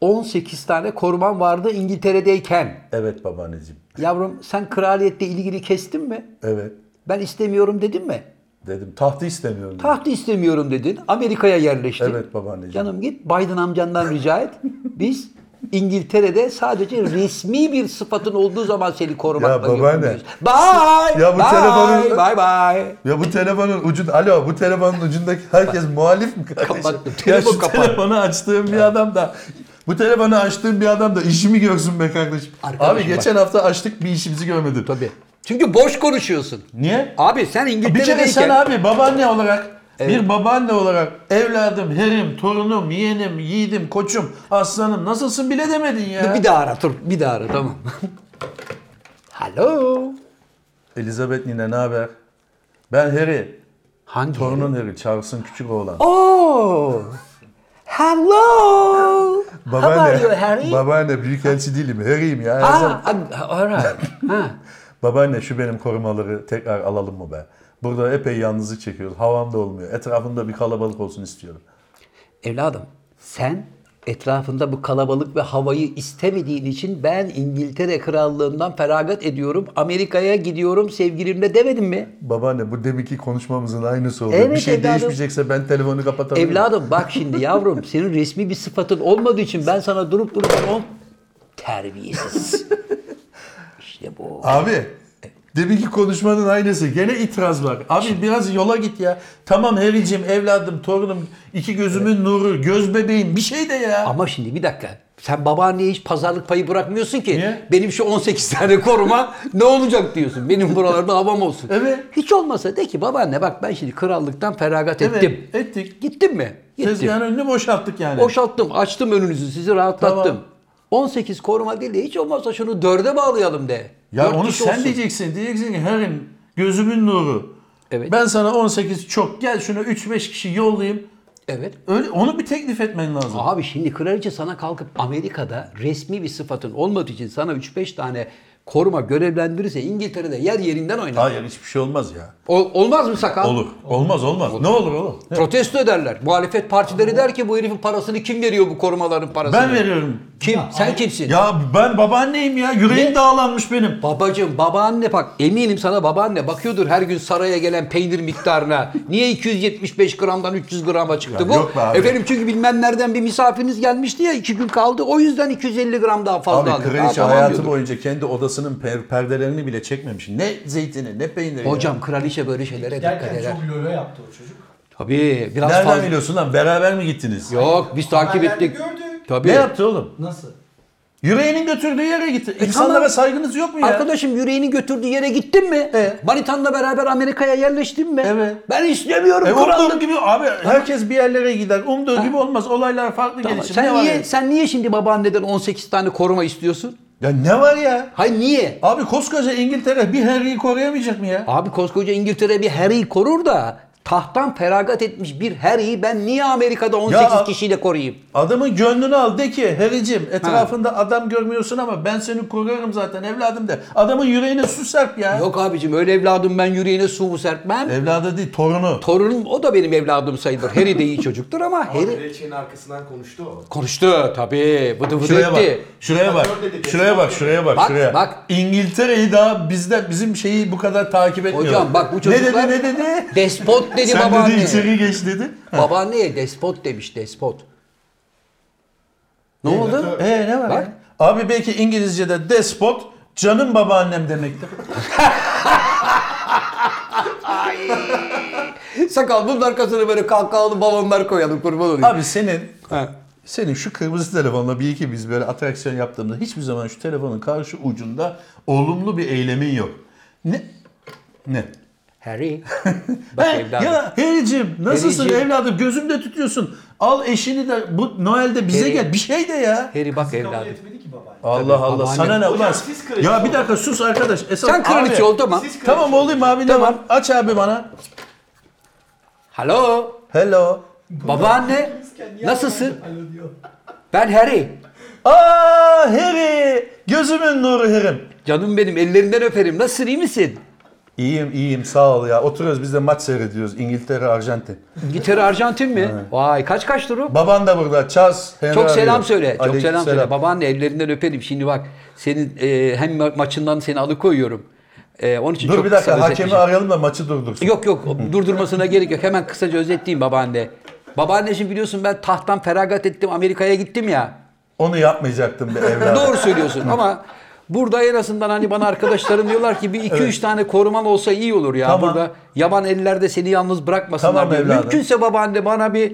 [SPEAKER 2] 18 tane koruman vardı İngiltere'deyken.
[SPEAKER 3] Evet babaanneciğim.
[SPEAKER 2] Yavrum sen kraliyetle ilgili kestin mi?
[SPEAKER 3] Evet
[SPEAKER 2] Ben istemiyorum dedin mi?
[SPEAKER 3] dedim. Tahtı istemiyorum. dedim.
[SPEAKER 2] Tahtı istemiyorum dedin. Amerika'ya yerleştin.
[SPEAKER 3] Evet babaanneciğim.
[SPEAKER 2] Canım git Biden amcandan rica et. Biz İngiltere'de sadece resmi bir sıfatın olduğu zaman seni korumakla
[SPEAKER 3] Ya babaanne.
[SPEAKER 2] yükümlüyüz. Bye.
[SPEAKER 3] Ya bu
[SPEAKER 2] bye,
[SPEAKER 3] telefonun-
[SPEAKER 2] Bye bye.
[SPEAKER 3] Ya bu telefonun ucunda, alo bu telefonun ucundaki herkes muhalif mi kardeşim?
[SPEAKER 2] Kapattım.
[SPEAKER 3] Ya
[SPEAKER 2] Telefon
[SPEAKER 3] şu
[SPEAKER 2] kapandı.
[SPEAKER 3] telefonu açtığım bir adam da, bu telefonu açtığım bir adam da işimi görsün be kardeşim.
[SPEAKER 2] Arkadaşım
[SPEAKER 3] Abi geçen hafta açtık bir işimizi görmedi.
[SPEAKER 2] Tabii. Çünkü boş konuşuyorsun.
[SPEAKER 3] Niye?
[SPEAKER 2] Abi sen
[SPEAKER 3] Bir
[SPEAKER 2] İngiltere'deyken...
[SPEAKER 3] kere sen abi babaanne olarak, bir babaanne olarak evladım, herim, torunum, yeğenim, yiğidim, koçum, aslanım nasılsın bile demedin ya.
[SPEAKER 2] Bir daha ara dur. Bir daha ara tamam. [laughs] Hello.
[SPEAKER 3] Elizabeth nine ne haber? Ben Harry,
[SPEAKER 2] Hangi?
[SPEAKER 3] torunun Harry, Charles'ın küçük oğlan.
[SPEAKER 2] Oh. Hello. How are you Harry?
[SPEAKER 3] Babaanne büyükelçi değilim, Harry'im ya. her zaman-
[SPEAKER 2] ah, ah, all right. Ha.
[SPEAKER 3] Babaanne şu benim korumaları tekrar alalım mı be? Burada epey yalnızlık çekiyoruz. Havam da olmuyor. Etrafımda bir kalabalık olsun istiyorum.
[SPEAKER 2] Evladım sen etrafında bu kalabalık ve havayı istemediğin için ben İngiltere Krallığından feragat ediyorum. Amerika'ya gidiyorum sevgilimle demedin mi?
[SPEAKER 3] Babaanne bu deminki konuşmamızın aynısı oldu.
[SPEAKER 2] Evet
[SPEAKER 3] bir şey
[SPEAKER 2] evladım.
[SPEAKER 3] değişmeyecekse ben telefonu kapatabilirim.
[SPEAKER 2] Evladım bak şimdi
[SPEAKER 3] [laughs]
[SPEAKER 2] yavrum senin resmi bir sıfatın olmadığı için ben sana durup durup on
[SPEAKER 3] [laughs]
[SPEAKER 2] terbiyesiz. işte bu.
[SPEAKER 3] Abi deminki konuşmanın aynısı. Gene itiraz var. Abi biraz yola git ya. Tamam Harry'cim, evladım, torunum, iki gözümün nuru, göz bebeğim bir şey de ya.
[SPEAKER 2] Ama şimdi bir dakika. Sen babaanneye hiç pazarlık payı bırakmıyorsun ki.
[SPEAKER 3] Niye?
[SPEAKER 2] Benim şu 18 tane koruma ne olacak diyorsun. Benim buralarda havam olsun.
[SPEAKER 3] Evet.
[SPEAKER 2] Hiç olmasa de ki babaanne bak ben şimdi krallıktan feragat
[SPEAKER 3] Evet,
[SPEAKER 2] ettim.
[SPEAKER 3] ettik.
[SPEAKER 2] Gittim mi? Gittim.
[SPEAKER 3] Tezgahın önünü boşalttık yani.
[SPEAKER 2] Boşalttım, açtım önünüzü, sizi rahatlattım.
[SPEAKER 3] Tamam.
[SPEAKER 2] 18 koruma değil de hiç olmazsa şunu dörde bağlayalım de.
[SPEAKER 3] Ya
[SPEAKER 2] Dört
[SPEAKER 3] onu
[SPEAKER 2] kişi
[SPEAKER 3] sen
[SPEAKER 2] olsun.
[SPEAKER 3] diyeceksin. Diyeceksin ki Herim gözümün nuru.
[SPEAKER 2] Evet.
[SPEAKER 3] Ben sana 18 çok gel şuna 3-5 kişi yollayayım.
[SPEAKER 2] Evet.
[SPEAKER 3] Öyle, onu bir teklif etmen lazım.
[SPEAKER 2] Abi şimdi kraliçe sana kalkıp Amerika'da resmi bir sıfatın olmadığı için sana 3-5 tane koruma görevlendirirse İngiltere'de yer yerinden oynar.
[SPEAKER 3] Hayır hiçbir şey olmaz ya.
[SPEAKER 2] Ol- olmaz mı sakal?
[SPEAKER 3] Olur. Olmaz olmaz. Ne olur olur.
[SPEAKER 2] Protesto ederler. Muhalefet partileri der ki bu herifin parasını kim veriyor bu korumaların parasını?
[SPEAKER 3] Ben veriyorum.
[SPEAKER 2] Kim? Sen kimsin?
[SPEAKER 3] Ya ben babaanneyim ya. Yüreğim
[SPEAKER 2] Ne?
[SPEAKER 3] dağlanmış benim.
[SPEAKER 2] Babacım, babaanne bak eminim sana babaanne bakıyordur her gün saraya gelen peynir miktarına. Niye 275 gramdan 300 grama çıktı
[SPEAKER 3] Ya
[SPEAKER 2] bu?
[SPEAKER 3] yok be abi.
[SPEAKER 2] Efendim çünkü bilmem nereden bir misafiriniz gelmişti ya iki gün kaldı. O yüzden 250 gram daha fazla
[SPEAKER 3] Abi
[SPEAKER 2] aldık. Ha,
[SPEAKER 3] kraliçe
[SPEAKER 2] tamam
[SPEAKER 3] hayatı
[SPEAKER 2] diyorduk.
[SPEAKER 3] boyunca kendi odasının per- perdelerini bile çekmemiş. Ne zeytini ne peyniri.
[SPEAKER 2] Hocam kraliçe böyle şeylere dikkat
[SPEAKER 4] Derken
[SPEAKER 2] eder.
[SPEAKER 4] çok lolo yaptı o çocuk.
[SPEAKER 2] Tabii biraz
[SPEAKER 3] Ya. Nereden
[SPEAKER 2] fazla.
[SPEAKER 3] biliyorsun lan? Beraber mi gittiniz?
[SPEAKER 2] Yok biz takip
[SPEAKER 5] Haberlerde
[SPEAKER 2] ettik.
[SPEAKER 5] gördük.
[SPEAKER 2] Tabii.
[SPEAKER 3] Ne yaptı oğlum?
[SPEAKER 4] Nasıl?
[SPEAKER 3] Yüreğinin götürdüğü yere gitti. İnsanlara
[SPEAKER 2] E, tamam.
[SPEAKER 3] saygınız yok mu ya?
[SPEAKER 2] Arkadaşım yüreğini götürdüğü yere gittin mi?
[SPEAKER 3] E?
[SPEAKER 2] Manitanla beraber Amerika'ya yerleştin mi?
[SPEAKER 3] Evet.
[SPEAKER 2] Ben istemiyorum
[SPEAKER 3] E
[SPEAKER 2] krallık.
[SPEAKER 3] umduğum gibi abi herkes bir yerlere gider. Umduğu gibi olmaz. Olaylar farklı
[SPEAKER 2] Tamam,
[SPEAKER 3] gelişir.
[SPEAKER 2] Sen
[SPEAKER 3] ne
[SPEAKER 2] niye
[SPEAKER 3] var ya?
[SPEAKER 2] sen niye şimdi babaanneden 18 tane koruma istiyorsun?
[SPEAKER 3] Ya ne var ya?
[SPEAKER 2] Hayır niye?
[SPEAKER 3] Abi koskoca İngiltere bir Harry'i koruyamayacak mı ya?
[SPEAKER 2] Abi koskoca İngiltere bir Harry'i korur da tahttan feragat etmiş bir Harry'i ben niye Amerika'da 18
[SPEAKER 3] Ya-
[SPEAKER 2] kişiyle koruyayım?
[SPEAKER 3] Adamın gönlünü al de ki Harry'cim etrafında adam görmüyorsun ama ben seni koruyorum zaten evladım de. Adamın yüreğine su serp ya. E,
[SPEAKER 2] Yok abicim öyle evladım ben yüreğine su mu serpmem?
[SPEAKER 3] Evladı değil torunu.
[SPEAKER 2] Torunum o da benim evladım sayılır. Harry de iyi çocuktur ama
[SPEAKER 5] Ama
[SPEAKER 2] Harry...
[SPEAKER 5] Kraliçenin arkasından konuştu o.
[SPEAKER 2] Konuştu tabii. Bıdı bıdı
[SPEAKER 3] Şuraya bak.
[SPEAKER 2] etti.
[SPEAKER 3] Şuraya bak. Şuraya bak. Şuraya bak.
[SPEAKER 2] Bak,
[SPEAKER 3] Şuraya.
[SPEAKER 2] bak.
[SPEAKER 3] İngiltere'yi daha bizden bizim şeyi bu kadar takip etmiyor.
[SPEAKER 2] Hocam bak bu çocuklar...
[SPEAKER 3] Ne dedi ne dedi?
[SPEAKER 2] Despot dedi
[SPEAKER 3] Sen dedi
[SPEAKER 2] babaanne.
[SPEAKER 3] içeri geç dedi.
[SPEAKER 2] Babaanneye despot demiş despot. Ne oldu?
[SPEAKER 3] Ee ne var
[SPEAKER 2] Bak.
[SPEAKER 3] ya? Abi belki İngilizce'de despot canım babaannem demektir.
[SPEAKER 2] Sakal bunun arkasına böyle kalkalı balonlar koyalım kurban olayım.
[SPEAKER 3] Abi senin
[SPEAKER 2] Ha.
[SPEAKER 3] senin şu kırmızı telefonla bir iki biz böyle atraksiyon yaptığımda hiçbir zaman şu telefonun karşı ucunda olumlu bir eylemin yok. Ne? Ne? [laughs]
[SPEAKER 2] Harry. Bak
[SPEAKER 3] He,
[SPEAKER 2] evladım.
[SPEAKER 3] ya Harry'cim nasılsın
[SPEAKER 2] Harry'cim.
[SPEAKER 3] evladım gözümde tutuyorsun. Al eşini de bu Noel'de bize
[SPEAKER 2] Harry.
[SPEAKER 3] gel bir şey de ya.
[SPEAKER 2] Harry bak
[SPEAKER 4] Bizi kabul
[SPEAKER 2] evladım.
[SPEAKER 4] etmedi ki baba.
[SPEAKER 3] Allah Allah
[SPEAKER 2] babaanne-
[SPEAKER 3] sana ne
[SPEAKER 5] Hocam
[SPEAKER 3] ulan.
[SPEAKER 5] siz kraliçe
[SPEAKER 3] Ya bir
[SPEAKER 5] olun.
[SPEAKER 3] dakika sus arkadaş. Esas
[SPEAKER 2] Sen kraliçe
[SPEAKER 3] abi.
[SPEAKER 2] ol tamam.
[SPEAKER 5] Siz kraliçe
[SPEAKER 3] Tamam olayım abi ne
[SPEAKER 2] Tamam.
[SPEAKER 3] var? Aç abi bana.
[SPEAKER 2] Halo.
[SPEAKER 3] Hello.
[SPEAKER 2] Babaanne.
[SPEAKER 4] Kendi
[SPEAKER 2] Nasılsın?
[SPEAKER 4] yapmadı, alo diyor.
[SPEAKER 2] Ben Harry.
[SPEAKER 3] Aa Harry! Gözümün nuru Harry'm.
[SPEAKER 2] Canım benim ellerinden öperim. Nasılsın iyi misin?
[SPEAKER 3] İyiyim iyiyim sağ ol ya. Oturuyoruz biz de maç seyrediyoruz. İngiltere, Arjantin.
[SPEAKER 2] Gitarı Arjantin mi? Vay kaç kaç durum?
[SPEAKER 3] Baban da burada. Charles Henry
[SPEAKER 2] Çok selam
[SPEAKER 3] arıyor.
[SPEAKER 2] söyle. Çok
[SPEAKER 3] Aleyküm
[SPEAKER 2] selam söyle. Babaanne ellerinden öperim. Şimdi bak senin e, hem ma- maçından seni alıkoyuyorum. E, onun için
[SPEAKER 3] Dur
[SPEAKER 2] çok
[SPEAKER 3] bir
[SPEAKER 2] kısa
[SPEAKER 3] dakika hakemi
[SPEAKER 2] özetleyeceğim.
[SPEAKER 3] arayalım da maçı durdursun.
[SPEAKER 2] Yok yok durdurmasına gerek yok. Hemen kısaca özetleyeyim babaanne. Babaanneciğim biliyorsun ben tahttan feragat ettim Amerika'ya gittim ya.
[SPEAKER 3] Onu
[SPEAKER 2] [laughs]
[SPEAKER 3] yapmayacaktım be evladım.
[SPEAKER 2] Doğru söylüyorsun ama burada en azından hani bana arkadaşlarım diyorlar ki bir iki üç tane koruman olsa iyi olur ya
[SPEAKER 3] Tamam.
[SPEAKER 2] burada. Yaban eller de seni yalnız bırakmasınlar.
[SPEAKER 3] Tamam
[SPEAKER 2] diye.
[SPEAKER 3] evladım.
[SPEAKER 2] Mümkünse babaanne bana bir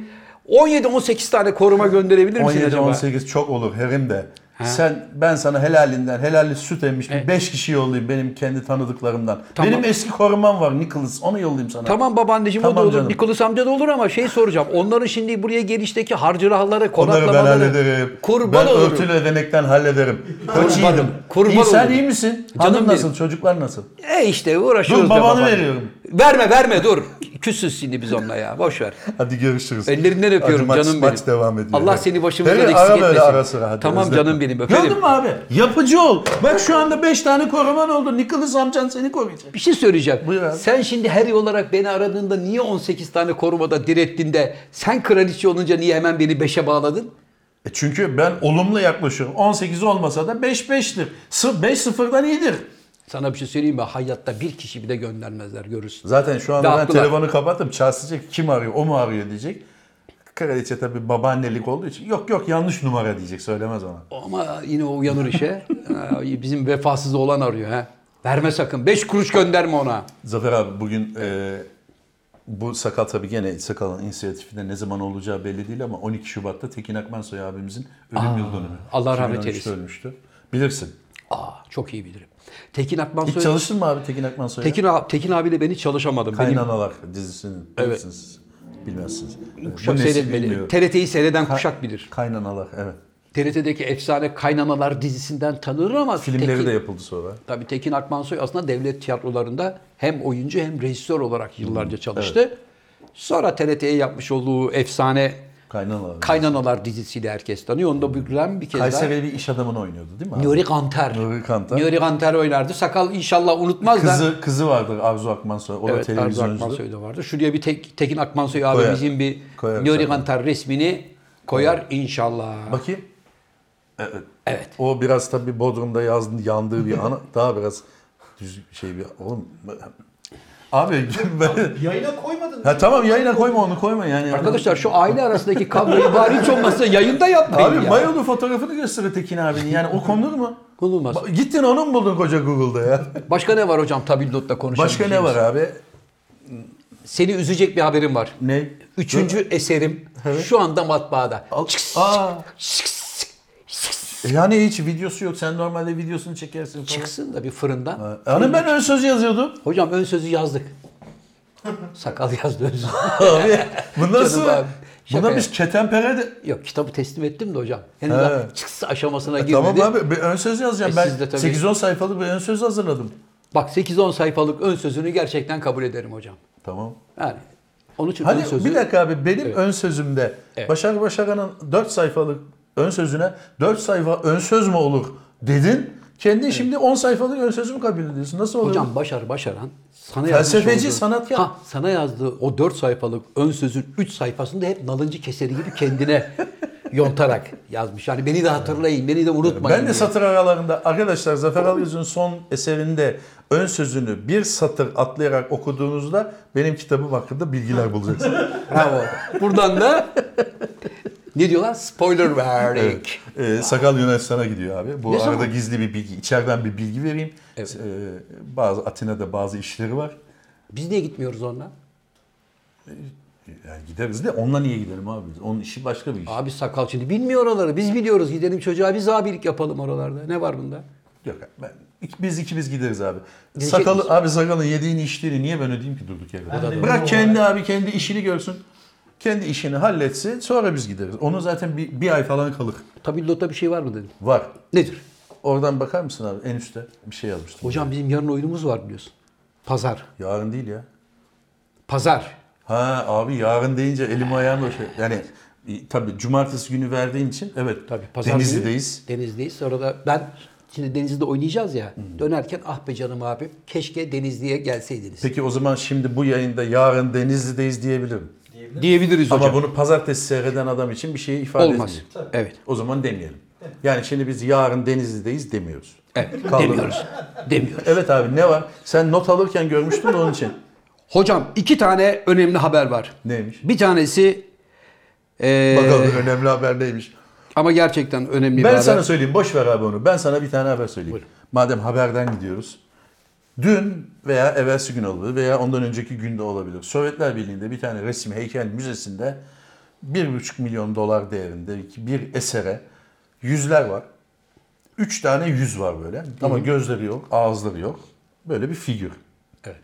[SPEAKER 2] 17-18 tane koruma gönderebilir misin şey acaba?
[SPEAKER 3] 17-18 çok olur Harry'm de. Sen ben sana helalinden helalli süt emmiş bir 5 kişi yollayayım benim kendi tanıdıklarımdan.
[SPEAKER 2] E- Tamam.
[SPEAKER 3] Benim eski korumam var Nicholas onu yollayayım sana.
[SPEAKER 2] Tamam babaanneciğim o
[SPEAKER 3] Tamam
[SPEAKER 2] da olur.
[SPEAKER 3] canım.
[SPEAKER 2] Nicholas amca da olur ama şey soracağım. Onların şimdi buraya gelişteki harcırahları,
[SPEAKER 3] Onları ben
[SPEAKER 2] konaklamaları
[SPEAKER 3] hallederim.
[SPEAKER 2] kurban
[SPEAKER 3] ben
[SPEAKER 2] olurum.
[SPEAKER 3] örtülü ödenekten hallederim. Koçiydim.
[SPEAKER 2] kurban
[SPEAKER 3] iyi, sen
[SPEAKER 2] olurum.
[SPEAKER 3] iyi misin?
[SPEAKER 2] Canım
[SPEAKER 3] Hanım
[SPEAKER 2] benim.
[SPEAKER 3] nasıl? Çocuklar nasıl?
[SPEAKER 2] E işte uğraşıyoruz
[SPEAKER 3] Dur,
[SPEAKER 2] be
[SPEAKER 3] babanı
[SPEAKER 2] babaanne.
[SPEAKER 3] veriyorum.
[SPEAKER 2] Verme verme dur. Küssüz şimdi biz onunla ya. Boş ver.
[SPEAKER 3] Hadi görüşürüz.
[SPEAKER 2] Ellerinden öpüyorum
[SPEAKER 3] Hadi maç-
[SPEAKER 2] canım
[SPEAKER 3] maç
[SPEAKER 2] benim.
[SPEAKER 3] devam ediyor.
[SPEAKER 2] Allah seni başımızdan
[SPEAKER 3] Tabii,
[SPEAKER 2] eksik
[SPEAKER 3] ara böyle
[SPEAKER 2] etmesin.
[SPEAKER 3] ara sıra hadi,
[SPEAKER 2] Tamam
[SPEAKER 3] özledim.
[SPEAKER 2] canım benim, öperim.
[SPEAKER 3] Gördün mü abi? Yapıcı ol. Bak şu anda 5 tane koruman oldu. Nicholas amcan seni koruyacak.
[SPEAKER 2] Bir şey söyleyeceğim.
[SPEAKER 3] Buyur abi.
[SPEAKER 2] Sen şimdi Harry olarak beni aradığında niye 18 tane korumada direttin de sen kraliçe olunca niye hemen beni 5'e bağladın?
[SPEAKER 3] E çünkü ben olumlu yaklaşıyorum. 18 olmasa da 5-5'tir. 5-0'dan iyidir.
[SPEAKER 2] Sana bir şey söyleyeyim mi? Hayatta bir kişi bile göndermezler görürsün.
[SPEAKER 3] Zaten şu anda
[SPEAKER 2] Ve
[SPEAKER 3] ben
[SPEAKER 2] haklılar.
[SPEAKER 3] telefonu kapattım. Charles diyecek kim arıyor o mu arıyor diyecek. Kraliçe tabii babaannelik olduğu için yok yok yanlış numara diyecek söylemez ona.
[SPEAKER 2] Ama yine o uyanır
[SPEAKER 3] [laughs]
[SPEAKER 2] işe. Ha, Bizim vefasız olan arıyor ha. Verme sakın. 5 kuruş gönderme ona.
[SPEAKER 3] Zafer abi bugün e, bu sakal tabii gene sakalın inisiyatifinde ne zaman olacağı belli değil ama 12 Şubat'ta Tekin Akmansoy abimizin ölüm yıl dönümü.
[SPEAKER 2] Allah rahmet
[SPEAKER 3] 2013'te
[SPEAKER 2] eylesin.
[SPEAKER 3] ölmüştü. Bilirsin.
[SPEAKER 2] Aa çok iyi bilirim. Tekin
[SPEAKER 3] Hiç
[SPEAKER 2] Akmansoy
[SPEAKER 3] çalıştın mı abi Tekin Akmansoy'a?
[SPEAKER 2] Tekin, abi, Tekin abiyle ben hiç çalışamadım. Benim
[SPEAKER 3] Kaynanalar dizisinin bilirsiniz. Bilmezsiniz. Bu
[SPEAKER 2] kuşak
[SPEAKER 3] nesil
[SPEAKER 2] seyretmeli.
[SPEAKER 3] bilmiyor.
[SPEAKER 2] TRT'yi seyreden kuşak bilir.
[SPEAKER 3] Kaynanalar evet.
[SPEAKER 2] TRT'deki efsane Kaynanalar dizisinden tanınır ama
[SPEAKER 3] Filmleri
[SPEAKER 2] Tekin,
[SPEAKER 3] de yapıldı sonra.
[SPEAKER 2] Tabii Tekin Akmansoy aslında devlet tiyatrolarında hem oyuncu hem rejisör
[SPEAKER 3] Hmm,
[SPEAKER 2] olarak yıllarca çalıştı. Sonra TRT'ye yapmış olduğu efsane
[SPEAKER 3] Kaynanalar.
[SPEAKER 2] Kaynanalar dizisiyle herkes tanıyor. Onu da büyüklen bir kez daha.
[SPEAKER 3] Kayseri'li bir iş adamını oynuyordu değil mi abi?
[SPEAKER 2] Nuri Kanter.
[SPEAKER 3] Nuri Kantar.
[SPEAKER 2] Nuri Kanter oynardı. Sakal inşallah unutmaz da.
[SPEAKER 3] Kızı, kızı vardı Arzu Akmansoy. O da
[SPEAKER 2] Evet, Arzu
[SPEAKER 3] televizyoncu.
[SPEAKER 2] Akmansoy da vardı. Şuraya bir tek, Tekin Akmansoy
[SPEAKER 3] Koyar.
[SPEAKER 2] abimizin bir
[SPEAKER 3] Koyar
[SPEAKER 2] Nuri
[SPEAKER 3] zaten.
[SPEAKER 2] Kanter resmini koyar inşallah.
[SPEAKER 3] Bakayım. Evet.
[SPEAKER 2] Evet.
[SPEAKER 3] O biraz tabii Bodrum'da yazdı, yandığı bir
[SPEAKER 2] [laughs]
[SPEAKER 3] ana daha biraz düz şey bir oğlum. Abi ben,
[SPEAKER 4] Yayına koymadın.
[SPEAKER 3] ha tamam yayına koyma onu koyma yani.
[SPEAKER 2] Arkadaşlar şu aile arasındaki
[SPEAKER 3] [laughs]
[SPEAKER 2] kavgayı bari hiç olmazsa yayında yapmayın
[SPEAKER 3] Abi
[SPEAKER 2] ya.
[SPEAKER 3] mayolu fotoğrafını göster Tekin abinin yani o konulur mu?
[SPEAKER 2] Konulmaz.
[SPEAKER 3] Ba- Gittin onu mu buldun koca Google'da ya?
[SPEAKER 2] Başka şey ne var hocam tabildotla konuşalım.
[SPEAKER 3] Başka ne var abi?
[SPEAKER 2] Seni üzecek bir haberim var.
[SPEAKER 3] Ne?
[SPEAKER 2] Üçüncü eserim şu anda matbaada.
[SPEAKER 3] Al- Aa. Yani hiç videosu yok. Sen normalde videosunu çekersin falan.
[SPEAKER 2] Çıksın da bir fırından.
[SPEAKER 3] Hani ben ön
[SPEAKER 2] [laughs]
[SPEAKER 3] söz yazıyordum.
[SPEAKER 2] Hocam ön sözü yazdık. Sakal yazdı ön sözü. [laughs]
[SPEAKER 3] Abi bu nasıl?
[SPEAKER 2] Canım abi, şaka
[SPEAKER 3] Buna biz ketenpere de...
[SPEAKER 2] Yok kitabı teslim ettim de hocam. Henüz
[SPEAKER 3] He. E,
[SPEAKER 2] daha çıksa aşamasına girmedi.
[SPEAKER 3] Tamam abi bir ön söz yazacağım.
[SPEAKER 2] E,
[SPEAKER 3] ben
[SPEAKER 2] siz de tabii-
[SPEAKER 3] 8-10 sayfalık bir ön söz hazırladım.
[SPEAKER 2] Bak 8-10 sayfalık ön sözünü gerçekten kabul ederim hocam.
[SPEAKER 3] Tamam.
[SPEAKER 2] Yani onun için
[SPEAKER 3] Hani
[SPEAKER 2] ön sözü...
[SPEAKER 3] bir dakika abi benim
[SPEAKER 2] Evet.
[SPEAKER 3] ön sözümde
[SPEAKER 2] Evet.
[SPEAKER 3] Başar Başaran'ın 4 sayfalık ön sözüne 4 sayfa ön söz mü olur dedin. Kendin şimdi 10 sayfalık ön sözümü kabul ediyorsun. Nasıl oluyor?
[SPEAKER 2] Hocam Başar Başaran sana
[SPEAKER 3] Felsefeci,
[SPEAKER 2] yazmış olduğu-
[SPEAKER 3] sanatkar.
[SPEAKER 2] Ha, sana yazdığı o 4 sayfalık ön sözün 3 sayfasında hep nalıncı keseri gibi
[SPEAKER 3] [laughs]
[SPEAKER 2] kendine yontarak yazmış. Yani beni de hatırlayın, beni de unutmayın.
[SPEAKER 3] Ben de
[SPEAKER 2] diye.
[SPEAKER 3] satır aralarında arkadaşlar Zafer Algöz'ün son eserinde ön sözünü bir satır atlayarak okuduğunuzda benim kitabım hakkında bilgiler bulacaksınız.
[SPEAKER 2] [laughs] Bravo. Buradan da ne diyorlar? Spoiler verdik.
[SPEAKER 3] Ee, Sakal Yunanistan'a gidiyor abi. Bu
[SPEAKER 2] Ne
[SPEAKER 3] arada
[SPEAKER 2] zaman?
[SPEAKER 3] gizli bir bilgi. içeriden bir bilgi vereyim.
[SPEAKER 2] Evet.
[SPEAKER 3] Ee, bazı Atina'da bazı işleri var.
[SPEAKER 2] Biz niye gitmiyoruz onunla?
[SPEAKER 3] Yani gideriz de onunla niye gidelim abi? biz? Onun işi başka bir iş.
[SPEAKER 2] Abi sakal şimdi bilmiyor oraları. Biz biliyoruz. Gidelim çocuğa biz abilik yapalım oralarda. Ne var bunda?
[SPEAKER 3] Yok abi, ben, ik- biz ikimiz gideriz abi.
[SPEAKER 2] Gidecek
[SPEAKER 3] Sakalı
[SPEAKER 2] misin?
[SPEAKER 3] abi sakalın yediğini içtiğini niye ben ödeyeyim ki durduk yere?
[SPEAKER 4] Ben de öyle.
[SPEAKER 3] Bırak kendi abi kendi işini görsün. Kendi işini halletsin sonra biz gideriz. Onun zaten bir, bir ay falan kalır.
[SPEAKER 2] Tabildota bir şey var mı dedim.
[SPEAKER 3] Var.
[SPEAKER 2] Nedir?
[SPEAKER 3] Oradan bakar mısın abi en üstte bir şey yazmıştım.
[SPEAKER 2] Hocam bizim yarın oyunumuz var biliyorsun. Pazar.
[SPEAKER 3] Yarın değil ya.
[SPEAKER 2] Pazar.
[SPEAKER 3] Ha abi yarın deyince elim ayağım da şey. Yani e, tabii cumartesi günü verdiğin için evet
[SPEAKER 2] Tabii pazar günü
[SPEAKER 3] Denizli'deyiz.
[SPEAKER 2] Denizli'deyiz. Sonra da ben şimdi Denizli'de oynayacağız ya. Dönerken ah be canım abim keşke Denizli'ye gelseydiniz.
[SPEAKER 3] Peki o zaman şimdi bu yayında yarın Denizli'deyiz diyebilirim.
[SPEAKER 2] Diyebiliriz hocam.
[SPEAKER 3] Ama bunu pazartesi seyreden adam için bir şey ifade
[SPEAKER 2] Olmaz.
[SPEAKER 3] etmiyor.
[SPEAKER 2] Evet.
[SPEAKER 3] O zaman demeyelim. Yani şimdi biz yarın Denizli'deyiz demiyoruz.
[SPEAKER 2] Evet.
[SPEAKER 3] Kaldırın.
[SPEAKER 2] Demiyoruz. Demiyoruz.
[SPEAKER 3] Evet abi ne var? Sen not alırken görmüştün de onun için.
[SPEAKER 2] Hocam iki tane önemli haber var.
[SPEAKER 3] Neymiş?
[SPEAKER 2] Bir tanesi eee,
[SPEAKER 3] Bakalım önemli haber neymiş?
[SPEAKER 2] ama gerçekten önemli bir
[SPEAKER 3] Ben
[SPEAKER 2] haber.
[SPEAKER 3] sana söyleyeyim boş ver abi onu. Ben sana bir tane haber söyleyeyim. Madem haberden gidiyoruz. Dün veya evvelsi gün olabilir veya ondan önceki günde olabilir. Sovyetler Birliği'nde bir tane resim heykel müzesinde 1,5 milyon dolar değerinde bir esere yüzler var. 3 tane yüz var böyle ama gözleri yok, ağızları yok. Böyle bir figür.
[SPEAKER 2] Evet.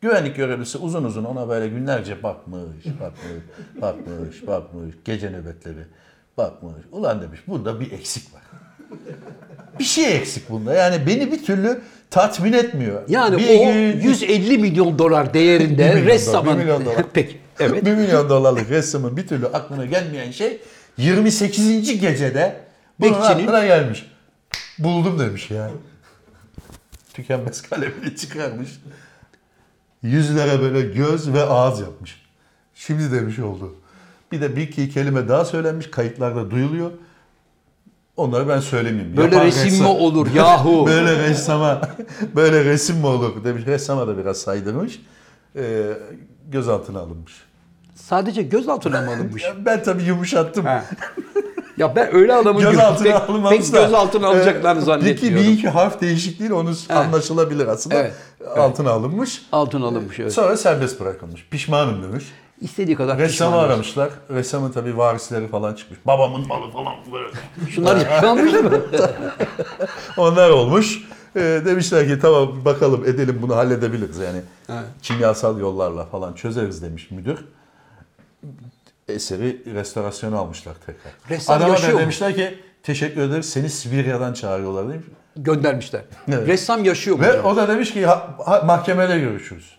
[SPEAKER 3] Güvenlik görevlisi uzun uzun ona böyle günlerce bakmış, bakmış, bakmış, bakmış, gece nöbetleri bakmış. Ulan demiş bunda bir eksik var. Bir şey eksik bunda. Yani beni bir türlü tatmin etmiyor.
[SPEAKER 2] Yani
[SPEAKER 3] bir
[SPEAKER 2] o 150 milyon dolar değerinde
[SPEAKER 3] Bir milyon dolar,
[SPEAKER 2] ressamın
[SPEAKER 3] bir milyon dolar.
[SPEAKER 2] [laughs] Peki.
[SPEAKER 3] [laughs]
[SPEAKER 2] Evet.
[SPEAKER 3] 1 milyon dolarlık resmin bir türlü aklına gelmeyen şey 28. gecede bunun
[SPEAKER 2] Bekçinin-
[SPEAKER 3] aklına gelmiş. Buldum demiş ya. Tükenmez kalemini çıkarmış. Yüzlere böyle göz ve ağız yapmış. Şimdi demiş oldu. Bir de bir iki kelime daha söylenmiş. Kayıtlarda duyuluyor. Onları ben söylemeyeyim.
[SPEAKER 2] Böyle
[SPEAKER 3] Yapan
[SPEAKER 2] resim mi
[SPEAKER 3] ressam-
[SPEAKER 2] olur yahu?
[SPEAKER 3] [laughs] böyle ressama, böyle resim mi olur demiş. Ressama da biraz saydırmış. Ee, gözaltına alınmış.
[SPEAKER 2] Sadece gözaltına mı alınmış?
[SPEAKER 3] Ya ben tabii yumuşattım.
[SPEAKER 2] Ha. ya ben öyle adamın
[SPEAKER 3] Gözaltına
[SPEAKER 2] pek-
[SPEAKER 3] alınmaz
[SPEAKER 2] pek
[SPEAKER 3] da.
[SPEAKER 2] gözaltına alacaklarını
[SPEAKER 3] Ee,
[SPEAKER 2] zannetmiyorum.
[SPEAKER 3] Bir iki, bir iki harf değişikliğiyle onu anlaşılabilir aslında.
[SPEAKER 2] Evet.
[SPEAKER 3] Altına alınmış.
[SPEAKER 2] Altın alınmış evet.
[SPEAKER 3] Sonra serbest bırakılmış. Pişmanım demiş.
[SPEAKER 2] İstediği kadar
[SPEAKER 3] Ressamı
[SPEAKER 2] pişman olsun.
[SPEAKER 3] aramışlar. Ressamın tabii varisleri falan çıkmış. Babamın malı falan böyle.
[SPEAKER 2] Şunlar
[SPEAKER 3] [laughs]
[SPEAKER 2] yaşanmış mı?
[SPEAKER 3] Onlar olmuş. Ee, demişler ki tamam bakalım edelim bunu halledebiliriz yani. Kimyasal yollarla falan çözeriz demiş müdür. Eseri restorasyona almışlar tekrar.
[SPEAKER 2] Ressam
[SPEAKER 3] Adama
[SPEAKER 2] yaşıyor
[SPEAKER 3] da
[SPEAKER 2] mu?
[SPEAKER 3] demişler ki teşekkür ederiz seni Sibirya'dan çağırıyorlar demiş.
[SPEAKER 2] Göndermişler.
[SPEAKER 3] Evet.
[SPEAKER 2] Ressam yaşıyor mu?
[SPEAKER 3] Ve
[SPEAKER 2] hocam?
[SPEAKER 3] o da demiş ki ha, ha- mahkemede görüşürüz.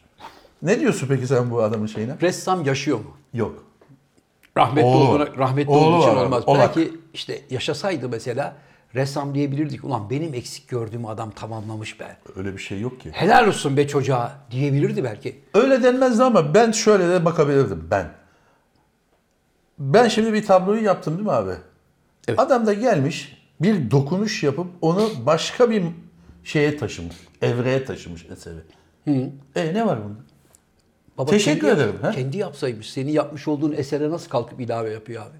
[SPEAKER 3] Ne diyorsun peki sen bu adamın şeyine?
[SPEAKER 2] Ressam yaşıyor mu?
[SPEAKER 3] Yok.
[SPEAKER 2] Rahmetli
[SPEAKER 3] Oğlu
[SPEAKER 2] olduğuna,
[SPEAKER 3] var.
[SPEAKER 2] rahmetli
[SPEAKER 3] Oğlu
[SPEAKER 2] olduğu için
[SPEAKER 3] var abi,
[SPEAKER 2] olmaz.
[SPEAKER 3] Olak.
[SPEAKER 2] Belki işte yaşasaydı mesela ressam diyebilirdik. Ulan benim eksik gördüğüm adam tamamlamış be.
[SPEAKER 3] Öyle bir şey yok ki.
[SPEAKER 2] Helal olsun be çocuğa diyebilirdi belki.
[SPEAKER 3] Öyle denmezdi ama ben şöyle de bakabilirdim ben. Ben şimdi bir tabloyu yaptım değil mi abi?
[SPEAKER 2] Evet.
[SPEAKER 3] Adam da gelmiş bir dokunuş yapıp onu başka bir şeye taşımış. Evreye taşımış eseri. E ne var bunda?
[SPEAKER 2] Baba
[SPEAKER 3] Teşekkür
[SPEAKER 2] kendi
[SPEAKER 3] ederim, he?
[SPEAKER 2] Kendi yapsaymış. Senin yapmış olduğun esere nasıl kalkıp ilave yapıyor abi?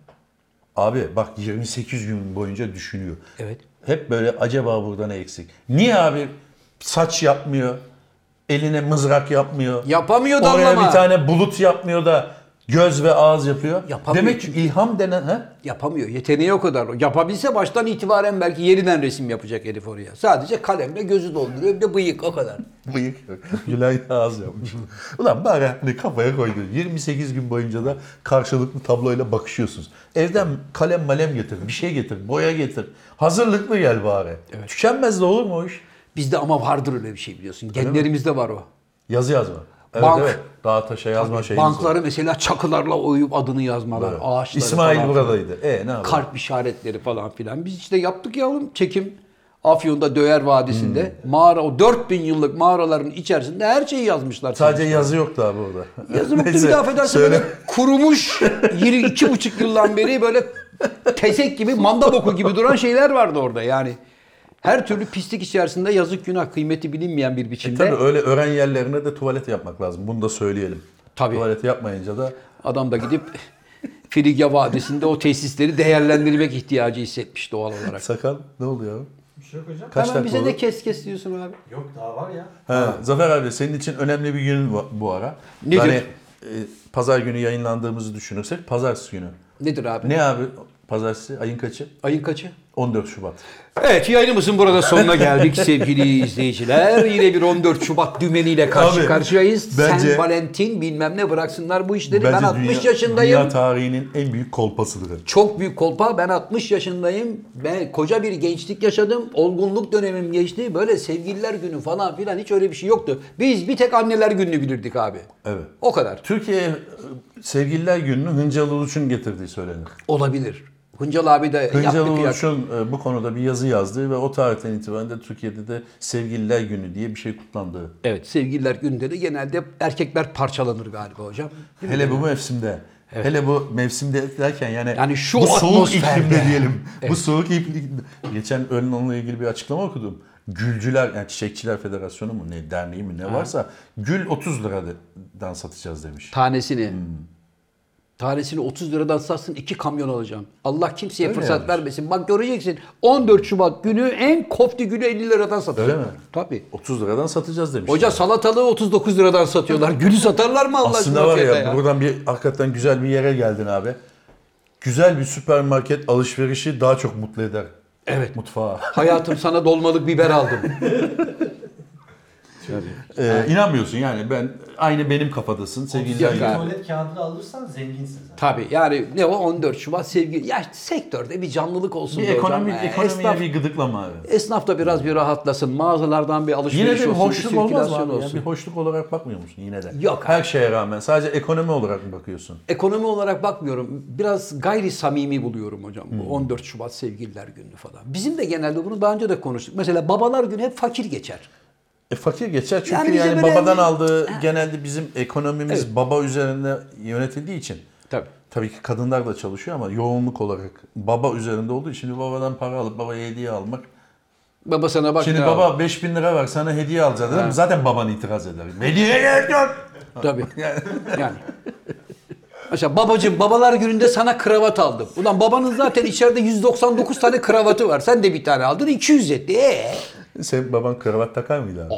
[SPEAKER 3] Abi bak 28 gün boyunca düşünüyor.
[SPEAKER 2] Evet.
[SPEAKER 3] Hep böyle acaba burada ne eksik? Niye abi saç yapmıyor? Eline mızrak yapmıyor.
[SPEAKER 2] Yapamıyor da
[SPEAKER 3] Oraya
[SPEAKER 2] anlama.
[SPEAKER 3] bir tane bulut yapmıyor da göz ve ağız yapıyor.
[SPEAKER 2] Yapamıyor
[SPEAKER 3] Demek ki ilham denen he?
[SPEAKER 2] Yapamıyor. Yeteneği o kadar. Yapabilse baştan itibaren belki yeniden resim yapacak herif oraya. Sadece kalemle gözü dolduruyor. Bir de bıyık o kadar.
[SPEAKER 3] Bıyık yok. Gülay ağız yapmış. Ulan bari hani kafaya koydu. 28 gün boyunca da karşılıklı tabloyla bakışıyorsunuz. Evden kalem malem getir, bir şey getir, boya getir. Hazırlıklı gel bari. Tükenmez de olur mu o iş?
[SPEAKER 2] Bizde ama vardır öyle bir şey biliyorsun. Genlerimizde var o.
[SPEAKER 3] Yazı yazma. Evet,
[SPEAKER 2] Bank.
[SPEAKER 3] evet. Daha taşa yazma şeyimiz var.
[SPEAKER 2] Bankları mesela çakılarla oyup adını yazmalar.
[SPEAKER 3] Evet.
[SPEAKER 2] Ağaçları
[SPEAKER 3] İsmail
[SPEAKER 2] falan.
[SPEAKER 3] buradaydı. E ne yapalım?
[SPEAKER 2] Kalp işaretleri falan filan. Biz işte yaptık ya oğlum çekim. Afyon'da Döğer Vadisi'nde
[SPEAKER 3] Hmm.
[SPEAKER 2] mağara o 4000 yıllık mağaraların içerisinde her şeyi yazmışlar.
[SPEAKER 3] Sadece yazı yok daha burada.
[SPEAKER 2] Yazı mutlu
[SPEAKER 3] [laughs] Neyse,
[SPEAKER 2] bir daha affedersin
[SPEAKER 3] söyle.
[SPEAKER 2] böyle kurumuş yeri iki buçuk yıldan beri böyle tezek gibi manda boku gibi duran şeyler vardı orada yani. Her türlü pislik içerisinde yazık günah kıymeti bilinmeyen bir biçimde
[SPEAKER 3] E, Tabii öyle öğren yerlerine de tuvalet yapmak lazım. Bunu da söyleyelim.
[SPEAKER 2] Tabii.
[SPEAKER 3] Tuvalet yapmayınca da
[SPEAKER 2] adam da gidip Frigya Vadisi'nde o tesisleri değerlendirmek ihtiyacı hissetmiş doğal olarak.
[SPEAKER 3] sakal ne oluyor?
[SPEAKER 4] Bir şey yok hocam.
[SPEAKER 3] Kaç
[SPEAKER 2] Hemen bize
[SPEAKER 3] dakika
[SPEAKER 2] de
[SPEAKER 3] oldu?
[SPEAKER 2] kes kes diyorsun abi.
[SPEAKER 4] Yok daha var ya.
[SPEAKER 3] Ha, Zafer abi senin için önemli bir gün bu- bu ara.
[SPEAKER 2] Nedir?
[SPEAKER 3] Yani e, pazar günü yayınlandığımızı düşünürsek pazartesi günü.
[SPEAKER 2] Nedir abi?
[SPEAKER 3] Ne abi pazartesi ayın kaçı?
[SPEAKER 2] Ayın kaçı?
[SPEAKER 3] 14 Şubat.
[SPEAKER 2] Evet yayınımızın burada sonuna geldik sevgili izleyiciler. Yine bir 14 Şubat dümeniyle karşı
[SPEAKER 3] Abi,
[SPEAKER 2] karşıyayız.
[SPEAKER 3] bence-
[SPEAKER 2] Sen Valentin bilmem ne bıraksınlar bu işleri. Ben
[SPEAKER 3] Bence
[SPEAKER 2] 60
[SPEAKER 3] dünya-
[SPEAKER 2] yaşındayım.
[SPEAKER 3] Dünya tarihinin en büyük kolpasıdır.
[SPEAKER 2] Çok büyük kolpa. Ben 60 yaşındayım. Ben koca bir gençlik yaşadım. Olgunluk dönemim geçti. Böyle sevgililer günü falan filan hiç öyle bir şey yoktu. Biz bir tek anneler gününü bilirdik abi.
[SPEAKER 3] Evet.
[SPEAKER 2] O kadar.
[SPEAKER 3] Türkiye e, Sevgililer Günü'nü Hıncal Uluç'un getirdiği söylenir.
[SPEAKER 2] Olabilir. Hıncal abi de
[SPEAKER 3] Hıncal
[SPEAKER 2] E, yaptı kıyak.
[SPEAKER 3] Uluç'un e, bu konuda bir yazı yazdığı ve o tarihten itibaren de Türkiye'de de Sevgililer Günü diye bir şey kutlandığı.
[SPEAKER 2] Evet sevgililer günde de genelde erkekler parçalanır galiba hocam.
[SPEAKER 3] Hele bu mevsimde. Hele bu mevsimde derken yani,
[SPEAKER 2] Yani şu
[SPEAKER 3] bu soğuk
[SPEAKER 2] atmosferde.
[SPEAKER 3] iklimde diyelim. Bu soğuk iklimde. Geçen öğlen onunla ilgili bir açıklama okudum. Gülcüler, yani Çiçekçiler Federasyonu mu ne, derneği mi ne varsa gül 30 liradan satacağız demiş. Hmm.
[SPEAKER 2] Tanesini. Tanesini 30 liradan satsın iki kamyon alacağım. Allah kimseye
[SPEAKER 3] Öyle
[SPEAKER 2] fırsat
[SPEAKER 3] yazmış.
[SPEAKER 2] vermesin. Bak göreceksin 14 Şubat günü en kofti günü 50 liradan satacak.
[SPEAKER 3] Öyle mi? şey
[SPEAKER 2] Tabii.
[SPEAKER 3] 30 liradan satacağız demiş.
[SPEAKER 2] Hoca salatalığı 39 liradan satıyorlar. Gülü satarlar mı Allah
[SPEAKER 3] Aslında
[SPEAKER 2] aşkına
[SPEAKER 3] var ya,
[SPEAKER 2] fiyata ya?
[SPEAKER 3] buradan bir hakikaten güzel bir yere geldin abi. Güzel bir süpermarket alışverişi daha çok mutlu eder.
[SPEAKER 2] Evet.
[SPEAKER 3] Mutfağa.
[SPEAKER 2] Hayatım sana dolmalık biber aldım. [laughs]
[SPEAKER 3] Ee, inanmıyorsun yani ben aynı benim kafadasın sevgililer
[SPEAKER 2] Yok
[SPEAKER 3] günü.
[SPEAKER 2] abi.
[SPEAKER 4] Tuvalet kağıdı da alırsan zenginsin sen.
[SPEAKER 2] Tabii yani ne o 14 Şubat sevgi. Ya sektörde bir canlılık olsun.
[SPEAKER 3] Bir
[SPEAKER 2] be hocam.
[SPEAKER 3] ekonomi,
[SPEAKER 2] Ya,
[SPEAKER 3] ekonomiye
[SPEAKER 2] esnaf-
[SPEAKER 3] bir gıdıklama abi.
[SPEAKER 2] Esnaf da biraz bir rahatlasın. Mağazalardan bir alışveriş
[SPEAKER 3] Yine de bir
[SPEAKER 2] olsun.
[SPEAKER 3] hoşluk olmaz mı
[SPEAKER 2] sirkülasyon
[SPEAKER 3] abi? ya?
[SPEAKER 2] olsun.
[SPEAKER 3] Bir hoşluk olarak bakmıyor musun yine de?
[SPEAKER 2] Yok
[SPEAKER 3] Her şeye rağmen sadece ekonomi olarak mı bakıyorsun?
[SPEAKER 2] Ekonomi olarak bakmıyorum. Biraz gayri samimi buluyorum hocam. Bu 14 Şubat sevgililer günü falan. Bizim de genelde bunu daha önce de konuştuk. Mesela babalar günü hep fakir geçer.
[SPEAKER 3] E fakir geçer çünkü
[SPEAKER 2] Yani
[SPEAKER 3] yani,
[SPEAKER 2] bize böyle-
[SPEAKER 3] babadan aldığı genelde bizim ekonomimiz
[SPEAKER 2] Evet.
[SPEAKER 3] baba üzerinde yönetildiği için.
[SPEAKER 2] Tabii.
[SPEAKER 3] Tabii ki kadınlar da çalışıyor ama yoğunluk olarak baba üzerinde olduğu için bir babadan para alıp babaya hediye almak.
[SPEAKER 2] Baba sana bak
[SPEAKER 3] Şimdi
[SPEAKER 2] ya.
[SPEAKER 3] baba 5000 lira ver sana hediye alacağız dedim. Zaten baban itiraz eder. Hediye gerek yok.
[SPEAKER 2] Tabii. [laughs] yani. Mesela babacığım babalar gününde sana kravat aldım. Ulan babanın zaten içeride 199 tane kravatı var. Sen de bir tane aldın 200 etti. Ee?
[SPEAKER 3] Senin baban kravat takar mıydı abi?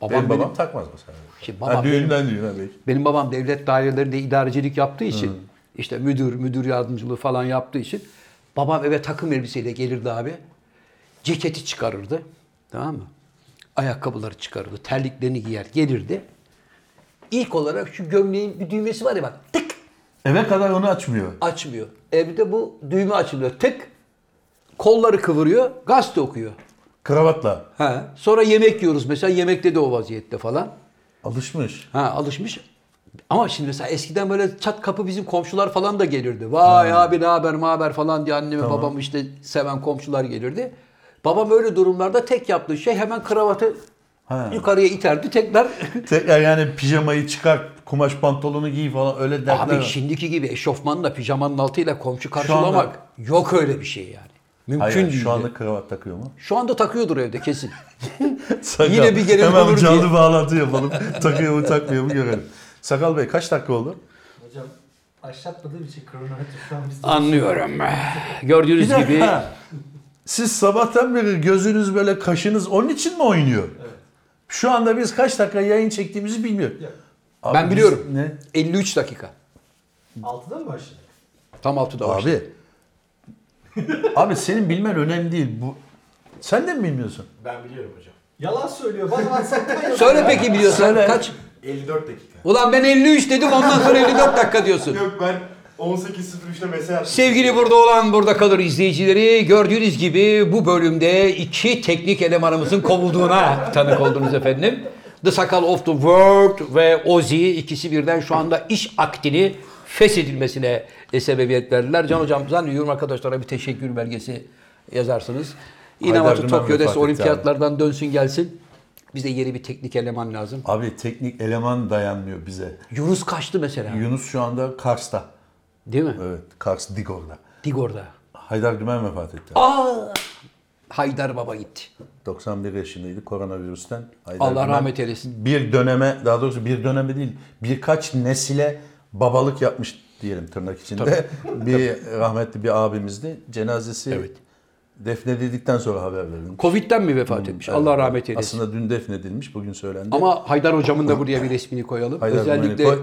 [SPEAKER 2] babam
[SPEAKER 3] benim babam
[SPEAKER 2] benim-
[SPEAKER 3] takmaz mesela.
[SPEAKER 2] Şimdi
[SPEAKER 3] ha,
[SPEAKER 2] babam
[SPEAKER 3] düğünden düğüne belki.
[SPEAKER 2] Benim babam devlet dairelerinde idarecilik yaptığı için işte müdür, müdür yardımcılığı falan yaptığı için babam eve takım elbiseyle gelirdi abi. Ceketi çıkarırdı. Tamam mı? Ayakkabıları çıkarırdı. Terliklerini giyer gelirdi. İlk olarak şu gömleğin bir düğmesi var ya bak tık
[SPEAKER 3] Eve kadar onu açmıyor.
[SPEAKER 2] açmıyor. Evde bu düğme açılıyor tık. Kolları kıvırıyor. Gazete okuyor.
[SPEAKER 3] Kravatla.
[SPEAKER 2] Ha. Sonra yemek yiyoruz mesela. Yemekte de o vaziyette falan.
[SPEAKER 3] Alışmış.
[SPEAKER 2] Ha alışmış. Ama şimdi mesela eskiden böyle çat kapı bizim komşular falan da gelirdi. Vay abi ne haber ma haber falan diye annemi babamı işte seven komşular gelirdi. Babam öyle durumlarda tek yaptığı şey hemen kravatı
[SPEAKER 3] Ha.
[SPEAKER 2] yukarıya iterdi
[SPEAKER 3] [laughs]
[SPEAKER 2] tekrar.
[SPEAKER 3] Tekrar yani pijamayı çıkar, kumaş pantolonu giy falan öyle dertler.
[SPEAKER 2] abi
[SPEAKER 3] var.
[SPEAKER 2] şimdiki gibi eşofmanla pijamanın altıyla komşu karşılamak yok öyle bir şey yani. Mümkün
[SPEAKER 3] Hayır, hayır,
[SPEAKER 2] değil.
[SPEAKER 3] şu anda kravat takıyor mu?
[SPEAKER 2] Şu anda takıyordur evde kesin.
[SPEAKER 3] [laughs] Sakal.
[SPEAKER 2] Yine bir gelelim
[SPEAKER 3] Hemen
[SPEAKER 2] olur
[SPEAKER 3] canlı
[SPEAKER 2] diye.
[SPEAKER 3] bağlantı [laughs] yapalım. takıyor mu takmıyor mu görelim. Sakal Bey kaç dakika oldu?
[SPEAKER 4] Hocam başlatmadığım için kronometre şu an bizde.
[SPEAKER 1] Anlıyorum.
[SPEAKER 2] Gördüğünüz
[SPEAKER 3] Bir
[SPEAKER 2] gibi
[SPEAKER 3] dakika. Siz sabahtan beri gözünüz böyle kaşınız onun için mi oynuyor? Şu anda biz kaç dakika yayın çektiğimizi bilmiyoruz.
[SPEAKER 4] şey Yok.
[SPEAKER 3] Abi
[SPEAKER 2] Ben
[SPEAKER 3] biz
[SPEAKER 2] biliyorum.
[SPEAKER 3] Ne?
[SPEAKER 2] 53 dakika.
[SPEAKER 4] 6'da mı başladık?
[SPEAKER 2] Tam 6'da başladı.
[SPEAKER 3] Abi. abi senin bilmen önemli değil. Bu sen de mi bilmiyorsun?
[SPEAKER 5] Ben biliyorum hocam.
[SPEAKER 4] Yalan söylüyor. Bak WhatsApp'tan yalan.
[SPEAKER 2] Söyle peki biliyorsan
[SPEAKER 3] Söyle.
[SPEAKER 2] kaç?
[SPEAKER 5] 54 dakika.
[SPEAKER 2] Ulan ben 53 dedim ondan sonra 54 dakika diyorsun.
[SPEAKER 5] Yok ben 18.03'te mesaj attım.
[SPEAKER 2] Sevgili burada olan burada kalır izleyicileri gördüğünüz gibi bu bölümde iki teknik elemanımızın kovulduğuna tanık oldunuz efendim. The Sakal of the World ve Ozzy ikisi birden şu anda iş akdini feshedilmesine e, sebebiyet verdiler. Can hocam zannediyorum arkadaşlara bir teşekkür belgesi yazarsınız.
[SPEAKER 3] Haydar
[SPEAKER 2] İnamatu
[SPEAKER 3] Dümen vefat
[SPEAKER 2] Tokyo'da
[SPEAKER 3] etti
[SPEAKER 2] olimpiyatlardan dönsün gelsin. Bize yeni bir teknik eleman lazım.
[SPEAKER 3] Abi teknik eleman dayanmıyor bize.
[SPEAKER 2] Yunus kaçtı mesela.
[SPEAKER 3] Yunus şu anda Kars'ta.
[SPEAKER 2] Değil mi?
[SPEAKER 3] Evet, Kars Digor'da.
[SPEAKER 2] Digor'da.
[SPEAKER 3] Haydar Dümen vefat etti.
[SPEAKER 2] Aa! Haydar Baba gitti.
[SPEAKER 3] Ee, 91 yaşındaydı koronavirüsten. Haydar
[SPEAKER 2] Allah
[SPEAKER 3] Dümen
[SPEAKER 2] rahmet eylesin.
[SPEAKER 3] Bir döneme, daha doğrusu bir döneme değil, birkaç nesile babalık yapmış diyelim tırnak içinde. [laughs] bir rahmetli bir abimizdi. Cenazesi
[SPEAKER 2] Evet.
[SPEAKER 3] defnedildikten sonra haber verildi.
[SPEAKER 2] Covid'den mi vefat etmiş? Allah rahmet eylesin.
[SPEAKER 3] Aslında dün defnedilmiş, bugün söylendi.
[SPEAKER 2] Ama Haydar hocamın da buraya bir resmini koyalım.
[SPEAKER 3] Haydar
[SPEAKER 2] Özellikle
[SPEAKER 3] Bey'i koy.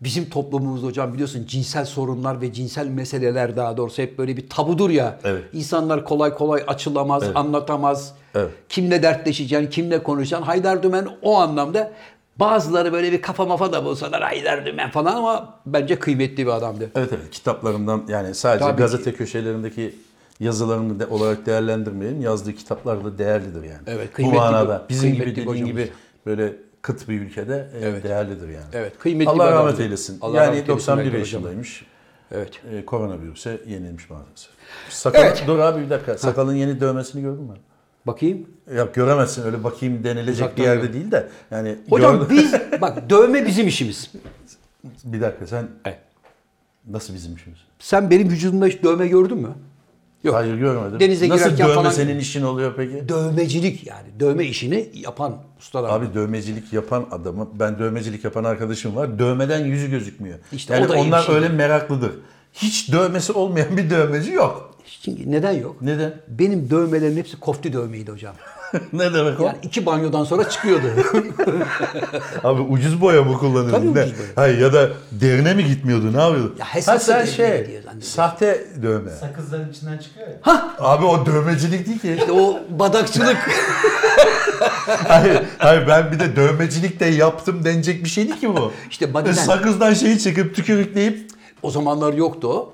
[SPEAKER 2] bizim toplumumuzda hocam biliyorsun cinsel sorunlar ve cinsel meseleler daha doğrusu hep böyle bir tabudur ya.
[SPEAKER 3] Evet.
[SPEAKER 2] İnsanlar kolay kolay açılamaz, anlatamaz.
[SPEAKER 3] Evet.
[SPEAKER 2] Kimle dertleşeceksin, kimle konuşacaksın. Haydar Dümen o anlamda bazıları böyle bir kafa mafa da bulsalar Haydar Dümen falan ama bence kıymetli bir adamdı.
[SPEAKER 3] Evet evet kitaplarımdan yani sadece
[SPEAKER 2] Tabii ki.
[SPEAKER 3] gazete köşelerindeki yazılarını de, olarak değerlendirmeyelim. Yazdığı kitaplar da değerlidir yani.
[SPEAKER 2] Evet,
[SPEAKER 3] Bu
[SPEAKER 2] kıymetli
[SPEAKER 3] manada
[SPEAKER 2] bir-
[SPEAKER 3] bizim gibi
[SPEAKER 2] kıymetli
[SPEAKER 3] dediğin
[SPEAKER 2] hocamız.
[SPEAKER 3] gibi böyle kıt bir ülkede e,
[SPEAKER 2] Evet.
[SPEAKER 3] değerlidir yani.
[SPEAKER 2] Evet, kıymetli bir
[SPEAKER 3] Allah rahmet
[SPEAKER 2] adamdı.
[SPEAKER 3] eylesin.
[SPEAKER 2] Allah
[SPEAKER 3] yani
[SPEAKER 2] rahmet eylesin
[SPEAKER 3] 91
[SPEAKER 2] Haydar
[SPEAKER 3] yaşındaymış.
[SPEAKER 2] Evet.
[SPEAKER 3] E, koronavirüse yenilmiş maalesef. Sakal,
[SPEAKER 2] Evet.
[SPEAKER 3] Dur abi bir dakika. Sakalın yeni dövmesini gördün mü?
[SPEAKER 2] Bakayım.
[SPEAKER 3] Ya göremezsin öyle bakayım denilecek
[SPEAKER 2] Uzaktan
[SPEAKER 3] bir yerde
[SPEAKER 2] gör.
[SPEAKER 3] değil de. Yani
[SPEAKER 2] Hocam [laughs]
[SPEAKER 3] gördün-
[SPEAKER 2] biz bak dövme bizim işimiz.
[SPEAKER 3] bir dakika sen
[SPEAKER 2] Evet.
[SPEAKER 3] nasıl bizim işimiz?
[SPEAKER 2] Sen benim vücudumda hiç dövme gördün mü? Yok.
[SPEAKER 3] Hayır görmedim.
[SPEAKER 2] Denize
[SPEAKER 3] Nasıl
[SPEAKER 2] girerken
[SPEAKER 3] dövme
[SPEAKER 2] falan-
[SPEAKER 3] senin işin oluyor peki?
[SPEAKER 2] Dövmecilik yani dövme işini yapan ustalar.
[SPEAKER 3] Abi dövmecilik yapan adamı, ben dövmecilik yapan arkadaşım var. Dövmeden yüzü gözükmüyor.
[SPEAKER 2] İşte
[SPEAKER 3] yani
[SPEAKER 2] o da iyi bir
[SPEAKER 3] onlar
[SPEAKER 2] şey.
[SPEAKER 3] öyle meraklıdır. Hiç dövmesi olmayan bir dövmeci yok.
[SPEAKER 2] Çünkü neden yok?
[SPEAKER 3] Neden? [laughs]
[SPEAKER 2] Benim dövmelerim hepsi kofti dövmeydi hocam.
[SPEAKER 3] ne demek o?
[SPEAKER 2] Yani iki banyodan sonra çıkıyordu. [laughs]
[SPEAKER 3] Abi ucuz boya mı kullanıyordun?
[SPEAKER 2] Tabii
[SPEAKER 3] ne?
[SPEAKER 2] ucuz boya.
[SPEAKER 3] Hayır ya da derine mi gitmiyordu? Ne yapıyordun?
[SPEAKER 2] Ya
[SPEAKER 3] ha
[SPEAKER 2] hesaplı
[SPEAKER 3] sen
[SPEAKER 2] derine
[SPEAKER 3] şey,
[SPEAKER 2] gidiyor zannediyorum.
[SPEAKER 3] sahte dövme.
[SPEAKER 4] [laughs] Sakızların içinden çıkıyor ya.
[SPEAKER 3] Abi o dövmecilik değil ki.
[SPEAKER 2] o badakçılık.
[SPEAKER 3] hayır, hayır ben bir de dövmecilik de yaptım denecek bir şey değil ki bu.
[SPEAKER 2] İşte bodyden.
[SPEAKER 3] Sakızdan şeyi çekip tükürükleyip
[SPEAKER 2] o zamanlar yoktu o.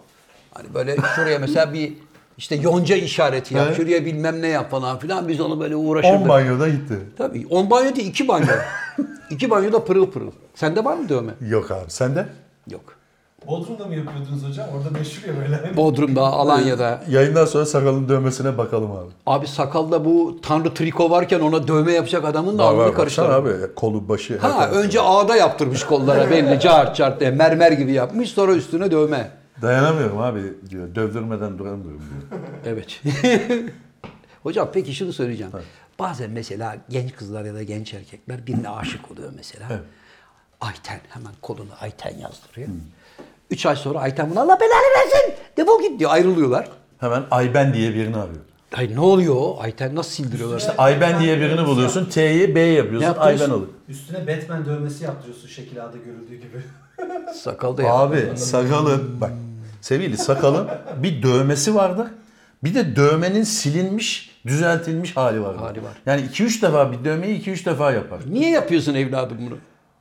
[SPEAKER 2] Hani böyle şuraya mesela bir işte yonca işareti yap,
[SPEAKER 3] Evet.
[SPEAKER 2] şuraya bilmem ne yap falan filan. Biz onu böyle
[SPEAKER 3] 10
[SPEAKER 2] uğraşırdık.
[SPEAKER 3] banyoda gitti.
[SPEAKER 2] Tabii. On banyo değil, iki [laughs] banyo. iki banyoda pırıl pırıl. Sende var mı dövme?
[SPEAKER 3] Yok abi sende?
[SPEAKER 2] Yok.
[SPEAKER 4] Bodrum'da mı yapıyordunuz hocam? Orada meşhur ya böyle.
[SPEAKER 2] Bodrum'da, Alanya'da.
[SPEAKER 3] Yayından sonra sakalın dövmesine bakalım abi.
[SPEAKER 2] Abi sakalda bu tanrı triko varken ona dövme yapacak adamın da alnını karıştırdı.
[SPEAKER 3] baksana abi kolu başı. her
[SPEAKER 2] Ha
[SPEAKER 3] tarafı.
[SPEAKER 2] önce ağda yaptırmış kollara belli cart cart diye mermer gibi yapmış sonra üstüne dövme.
[SPEAKER 3] Dayanamıyorum abi diyor. Dövdürmeden duramıyorum diyor.
[SPEAKER 2] Evet. [laughs] Hocam peki şunu söyleyeceğim. Bazen mesela genç kızlar ya da genç erkekler birine aşık oluyor mesela. Ayten hemen koluna Ayten yazdırıyor. Üç ay sonra Ayten buna Allah belanı versin defol git diyor ayrılıyorlar.
[SPEAKER 3] Hemen Ayben diye birini arıyor.
[SPEAKER 2] Ay ne oluyor o? Ayten nasıl sildiriyorlar?
[SPEAKER 3] İşte Ayben diye birini buluyorsun. T'yi B
[SPEAKER 2] Ne
[SPEAKER 3] yapıyorsun.
[SPEAKER 2] yapıyorsun?
[SPEAKER 3] Ayben olur.
[SPEAKER 4] Üstüne Batman dövmesi yaptırıyorsun şekil ağda görüldüğü gibi. [laughs]
[SPEAKER 2] Sakalda ya.
[SPEAKER 3] Abi sakalın bak sevgili sakalın bir dövmesi vardı. Bir de dövmenin silinmiş, düzeltilmiş hali vardı.
[SPEAKER 2] Hali var.
[SPEAKER 3] Yani 2-3 defa bir dövmeyi 2-3 defa yapar.
[SPEAKER 2] Niye yapıyorsun evladım bunu?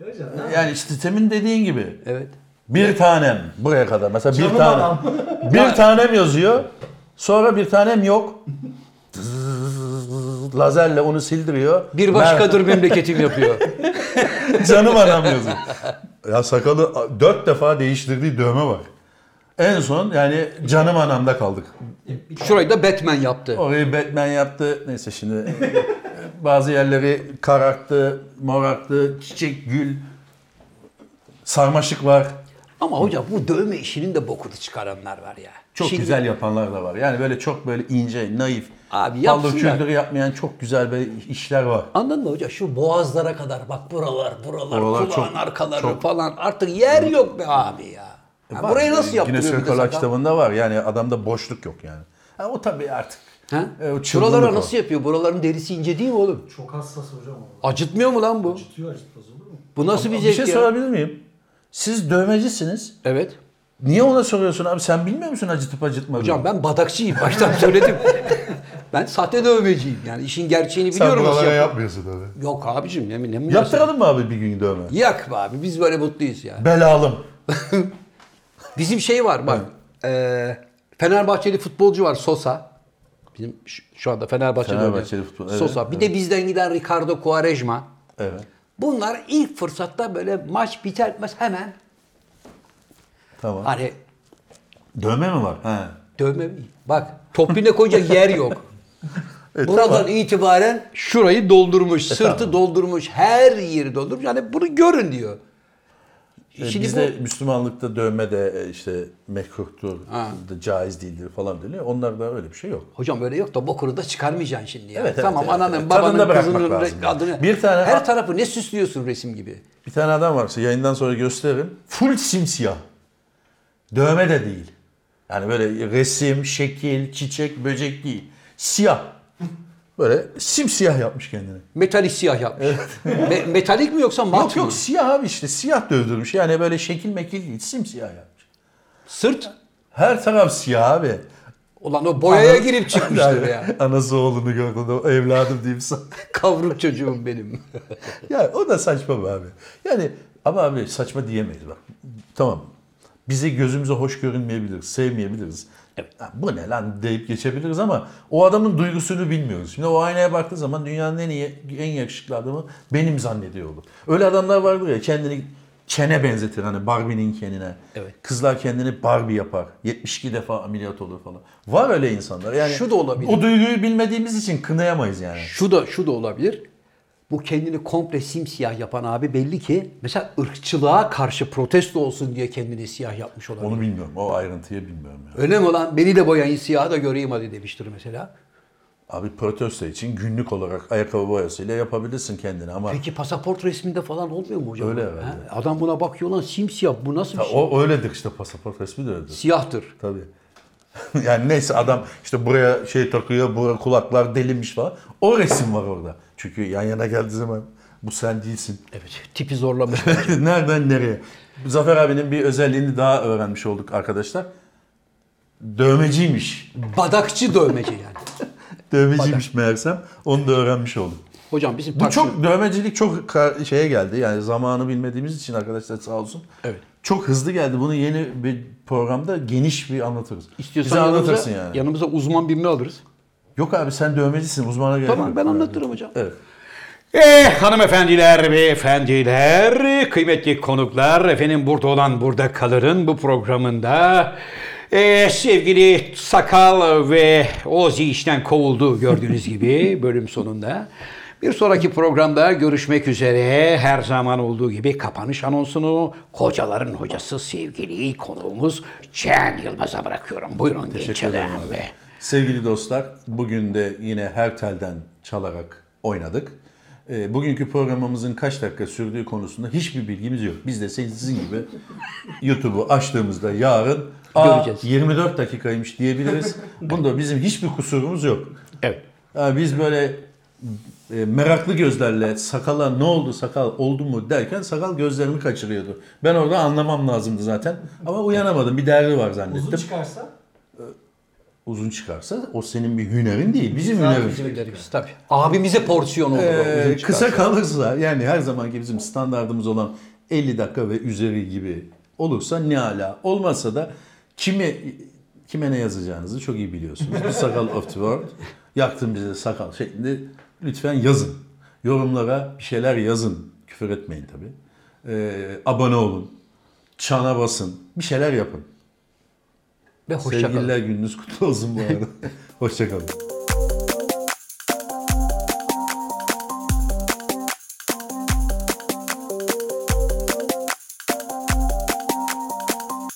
[SPEAKER 4] Ya hocam ne
[SPEAKER 3] Yani işte temin dediğin gibi.
[SPEAKER 2] Evet.
[SPEAKER 3] Bir tanem buraya kadar. Mesela bir
[SPEAKER 4] Canım
[SPEAKER 3] tane.
[SPEAKER 4] adam.
[SPEAKER 3] Bir tanem yazıyor. Sonra bir tanem yok. Lazerle onu sildiriyor.
[SPEAKER 2] Bir başkadır memleketim
[SPEAKER 3] [laughs]
[SPEAKER 2] yapıyor.
[SPEAKER 3] Ben- canım adam yazıyor. Ya sakalı dört defa değiştirdiği dövme var. En son yani canım anamda kaldık.
[SPEAKER 2] Şurayı da Batman yaptı.
[SPEAKER 3] Orayı Batman yaptı. Neyse şimdi bazı yerleri kararttı, morarttı, çiçek, gül, sarmaşık var.
[SPEAKER 2] Ama hocam bu dövme işinin de bokunu çıkaranlar var ya.
[SPEAKER 3] Çok
[SPEAKER 2] Şimdi-
[SPEAKER 3] güzel yapanlar da var. Yani böyle çok böyle ince, naif,
[SPEAKER 2] Abi
[SPEAKER 3] paldır
[SPEAKER 2] yapsınlar.
[SPEAKER 3] küldür yapmayan çok güzel böyle işler var.
[SPEAKER 2] Anladın mı hoca? Şu boğazlara kadar bak buralar, buralar,
[SPEAKER 3] Oralar
[SPEAKER 2] kulağın
[SPEAKER 3] çok-
[SPEAKER 2] arkaları
[SPEAKER 3] çok-
[SPEAKER 2] falan. Artık yer yok be abi ya. Ya
[SPEAKER 3] E, Var. Ee,
[SPEAKER 2] burayı nasıl yaptırıyor?
[SPEAKER 3] Guinness
[SPEAKER 2] bir de
[SPEAKER 3] Rekorlar
[SPEAKER 2] zaten?
[SPEAKER 3] kitabında var. Yani adamda boşluk yok yani. Ha, o tabii artık.
[SPEAKER 2] Ha?
[SPEAKER 3] E, o çılgınlık
[SPEAKER 2] Buralara
[SPEAKER 3] o.
[SPEAKER 2] nasıl yapıyor? Buraların derisi ince değil mi oğlum?
[SPEAKER 4] Çok hassas hocam o.
[SPEAKER 2] Acıtmıyor mu lan bu?
[SPEAKER 4] Acıtıyor acıtmaz olur mu?
[SPEAKER 2] Bu nasıl bir
[SPEAKER 3] Bir
[SPEAKER 2] zevk
[SPEAKER 3] şey
[SPEAKER 2] ya?
[SPEAKER 3] sorabilir miyim? Siz dövmecisiniz.
[SPEAKER 2] Evet.
[SPEAKER 3] Niye ona soruyorsun abi? Sen bilmiyor musun acıtıp acıtmadığını?
[SPEAKER 2] Hocam ben badakçıyım. Baştan söyledim. [laughs] ben sahte dövmeciyim. Yani işin gerçeğini biliyorum. nasıl yap-
[SPEAKER 3] yapmıyorsun tabii.
[SPEAKER 2] Yok abicim yemin eminim.
[SPEAKER 3] Yaptıralım mı abi bir gün dövme?
[SPEAKER 2] Yak be abi. Biz böyle mutluyuz ya.
[SPEAKER 3] Belalım.
[SPEAKER 2] Bizim şey var bak. eee, Fenerbahçeli futbolcu var Sosa. Bizim şu, şu anda Fenerbahçe'de
[SPEAKER 3] Fenerbahçeli
[SPEAKER 2] oynayan
[SPEAKER 3] futbol- evet,
[SPEAKER 2] Sosa. Bir de bizden giden Ricardo Quaresma.
[SPEAKER 3] Evet.
[SPEAKER 2] Bunlar ilk fırsatta böyle maç biter bitmez hemen
[SPEAKER 3] Tamam.
[SPEAKER 2] hani
[SPEAKER 3] Dövme mi var? He.
[SPEAKER 2] dövme bak topine [laughs] koyacak yer yok.
[SPEAKER 3] E,
[SPEAKER 2] Buradan
[SPEAKER 3] tamam.
[SPEAKER 2] itibaren E, şurayı doldurmuş, sırtı doldurmuş, her yeri doldurmuş. Yani bunu görün diyor.
[SPEAKER 3] E,
[SPEAKER 2] Şimdi
[SPEAKER 3] Bizde Müslümanlıkta dövme de e, işte mekruhtur,
[SPEAKER 2] Ha.
[SPEAKER 3] da caiz değildir falan deniyor. Onlarda öyle bir şey yok.
[SPEAKER 2] Hocam böyle yok da bokunu da çıkarmayacaksın şimdi. ya.
[SPEAKER 3] Evet, evet,
[SPEAKER 2] tamam
[SPEAKER 3] evet,
[SPEAKER 2] ananın,
[SPEAKER 3] evet. Tadını da
[SPEAKER 2] babanın,
[SPEAKER 3] bırakmak
[SPEAKER 2] kızının
[SPEAKER 3] lazım.
[SPEAKER 2] adını.
[SPEAKER 3] Bir tane-
[SPEAKER 2] her tarafı ne süslüyorsun resim gibi.
[SPEAKER 3] Bir tane adam varsa yayından sonra gösteririm. Full simsiyah. Dövme de değil. Yani böyle resim, şekil, çiçek, böcek değil. Siyah. Böyle simsiyah yapmış kendini.
[SPEAKER 2] Metalik siyah yapmış. [laughs] Me- metalik mi yoksa mat
[SPEAKER 3] Yok
[SPEAKER 2] mı?
[SPEAKER 3] yok siyah abi işte siyah dövdürmüş. Yani böyle şekil mekil değil simsiyah yapmış.
[SPEAKER 2] Sırt.
[SPEAKER 3] Her taraf siyah abi.
[SPEAKER 2] Ulan o boyaya
[SPEAKER 3] Ana-
[SPEAKER 2] girip çıkmıştır
[SPEAKER 3] Yani
[SPEAKER 2] ya. [laughs]
[SPEAKER 3] [laughs] Anası oğlunu gördü de evladım diyeyim sana.
[SPEAKER 2] Kavruk çocuğum benim.
[SPEAKER 3] ya o da saçma be abi. Yani ama abi saçma diyemeyiz bak. Tamam. Bize gözümüze hoş görünmeyebiliriz, sevmeyebiliriz. Ha, Bu ne lan deyip geçebiliriz ama o adamın duygusunu bilmiyoruz. Şimdi o aynaya baktığı zaman dünyanın en iyi, en yakışıklı adamı benim zannediyor olur. Öyle adamlar vardır ya kendini çene benzetir hani Barbie'nin kendine.
[SPEAKER 2] Evet.
[SPEAKER 3] Kızlar kendini Barbie yapar. 72 defa ameliyat olur falan. Var öyle insanlar. Yani
[SPEAKER 2] Şu da olabilir.
[SPEAKER 3] O duyguyu bilmediğimiz için kınayamayız yani.
[SPEAKER 2] Şu da şu da olabilir. Bu kendini komple simsiyah yapan abi belli ki mesela ırkçılığa karşı protesto olsun diye kendini siyah yapmış olabilir.
[SPEAKER 3] Onu bilmiyorum. O ayrıntıyı bilmiyorum yani.
[SPEAKER 2] Öyle mi lan? Beni de boyayın siyaha da göreyim hadi demiştir mesela.
[SPEAKER 3] Abi protesto için günlük olarak ayakkabı boyasıyla yapabilirsin kendini ama
[SPEAKER 2] Peki pasaport resminde falan olmuyor mu hocam?
[SPEAKER 3] Öyle
[SPEAKER 2] He?
[SPEAKER 3] herhalde.
[SPEAKER 2] Adam buna bakıyor lan simsiyah bu nasıl bir şey?
[SPEAKER 3] o öyledir işte pasaport resmi de öyledir.
[SPEAKER 2] Siyahtır.
[SPEAKER 3] Tabii. [laughs] yani neyse adam işte buraya şey takıyor, buraya kulaklar delinmiş falan. O resim var orada. Çünkü yan yana geldiği zaman bu
[SPEAKER 2] [laughs]
[SPEAKER 3] sen değilsin.
[SPEAKER 2] Evet tipi zorlamış.
[SPEAKER 3] Nereden nereye? Zafer abinin bir özelliğini daha öğrenmiş olduk arkadaşlar. Dövmeciymiş.
[SPEAKER 2] Badakçı dövmeci yani.
[SPEAKER 3] Dövmeciymiş meğersem. Onu da öğrenmiş olduk.
[SPEAKER 2] Hocam bizim
[SPEAKER 3] Bu
[SPEAKER 2] Taksim-
[SPEAKER 3] çok dövmecilik çok ka- şeye geldi. Yani zamanı bilmediğimiz için arkadaşlar sağ olsun.
[SPEAKER 2] Evet.
[SPEAKER 3] Çok hızlı geldi. Bunu yeni bir programda geniş bir anlatırız.
[SPEAKER 2] İstiyorsan
[SPEAKER 3] Bize anlatırsın
[SPEAKER 2] yanımıza,
[SPEAKER 3] yani.
[SPEAKER 2] yanımıza uzman birini alırız.
[SPEAKER 3] Yok abi sen dövmecisin. Uzmana gerek
[SPEAKER 2] Tamam
[SPEAKER 3] yok.
[SPEAKER 2] ben anlatırım hocam.
[SPEAKER 3] Evet.
[SPEAKER 1] Eh hanımefendiler, beyefendiler, kıymetli konuklar, efendim burada olan burada kalırın bu programında eh, sevgili Sakal ve Ozi işten kovuldu gördüğünüz gibi bölüm sonunda. Bir sonraki programda görüşmek üzere her zaman olduğu gibi kapanış anonsunu kocaların hocası sevgili konuğumuz Can Yılmaz'a bırakıyorum. Buyurun genç
[SPEAKER 3] Teşekkür ederim
[SPEAKER 1] adam
[SPEAKER 3] abi.
[SPEAKER 1] be.
[SPEAKER 3] Sevgili dostlar, bugün de yine her telden çalarak oynadık. Ee, bugünkü programımızın kaç dakika sürdüğü konusunda hiçbir bilgimiz yok. Biz de sizin
[SPEAKER 2] [laughs]
[SPEAKER 3] gibi YouTube'u açtığımızda yarın "Aa,
[SPEAKER 2] Göreceğiz."
[SPEAKER 3] 24 dakikaymış diyebiliriz. Bunda bizim hiçbir kusurumuz yok.
[SPEAKER 1] Evet.
[SPEAKER 3] Yani biz böyle e, meraklı gözlerle sakala ne oldu sakal oldu mu derken sakal gözlerimi kaçırıyordu. Ben orada anlamam lazımdı zaten ama uyanamadım bir derdi var zannettim.
[SPEAKER 4] Uzun
[SPEAKER 3] Uzun,
[SPEAKER 4] çıkarsa
[SPEAKER 3] çıkarsa o senin bir hünerin değil bizim hünerimiz.
[SPEAKER 2] Bizim deriz tabii. Abimize porsiyon oldu. bu,
[SPEAKER 3] Ee,
[SPEAKER 2] bizim
[SPEAKER 3] kısa
[SPEAKER 2] çıkarsa.
[SPEAKER 3] kalırsa yani her zamanki bizim standartımız olan 50 dakika ve üzeri gibi olursa ne ala. Olmazsa da kimi kime ne yazacağınızı çok iyi biliyorsunuz. Bu sakal of the world. Yaktın bize sakal şeklinde lütfen yazın. Yorumlara bir şeyler yazın. Küfür etmeyin tabii. Ee, abone olun. Çana basın. Bir şeyler yapın.
[SPEAKER 2] Ve hoşça kalın. [laughs]
[SPEAKER 3] Sevgililer gününüz kutlu olsun bu arada. Hoşçakalın.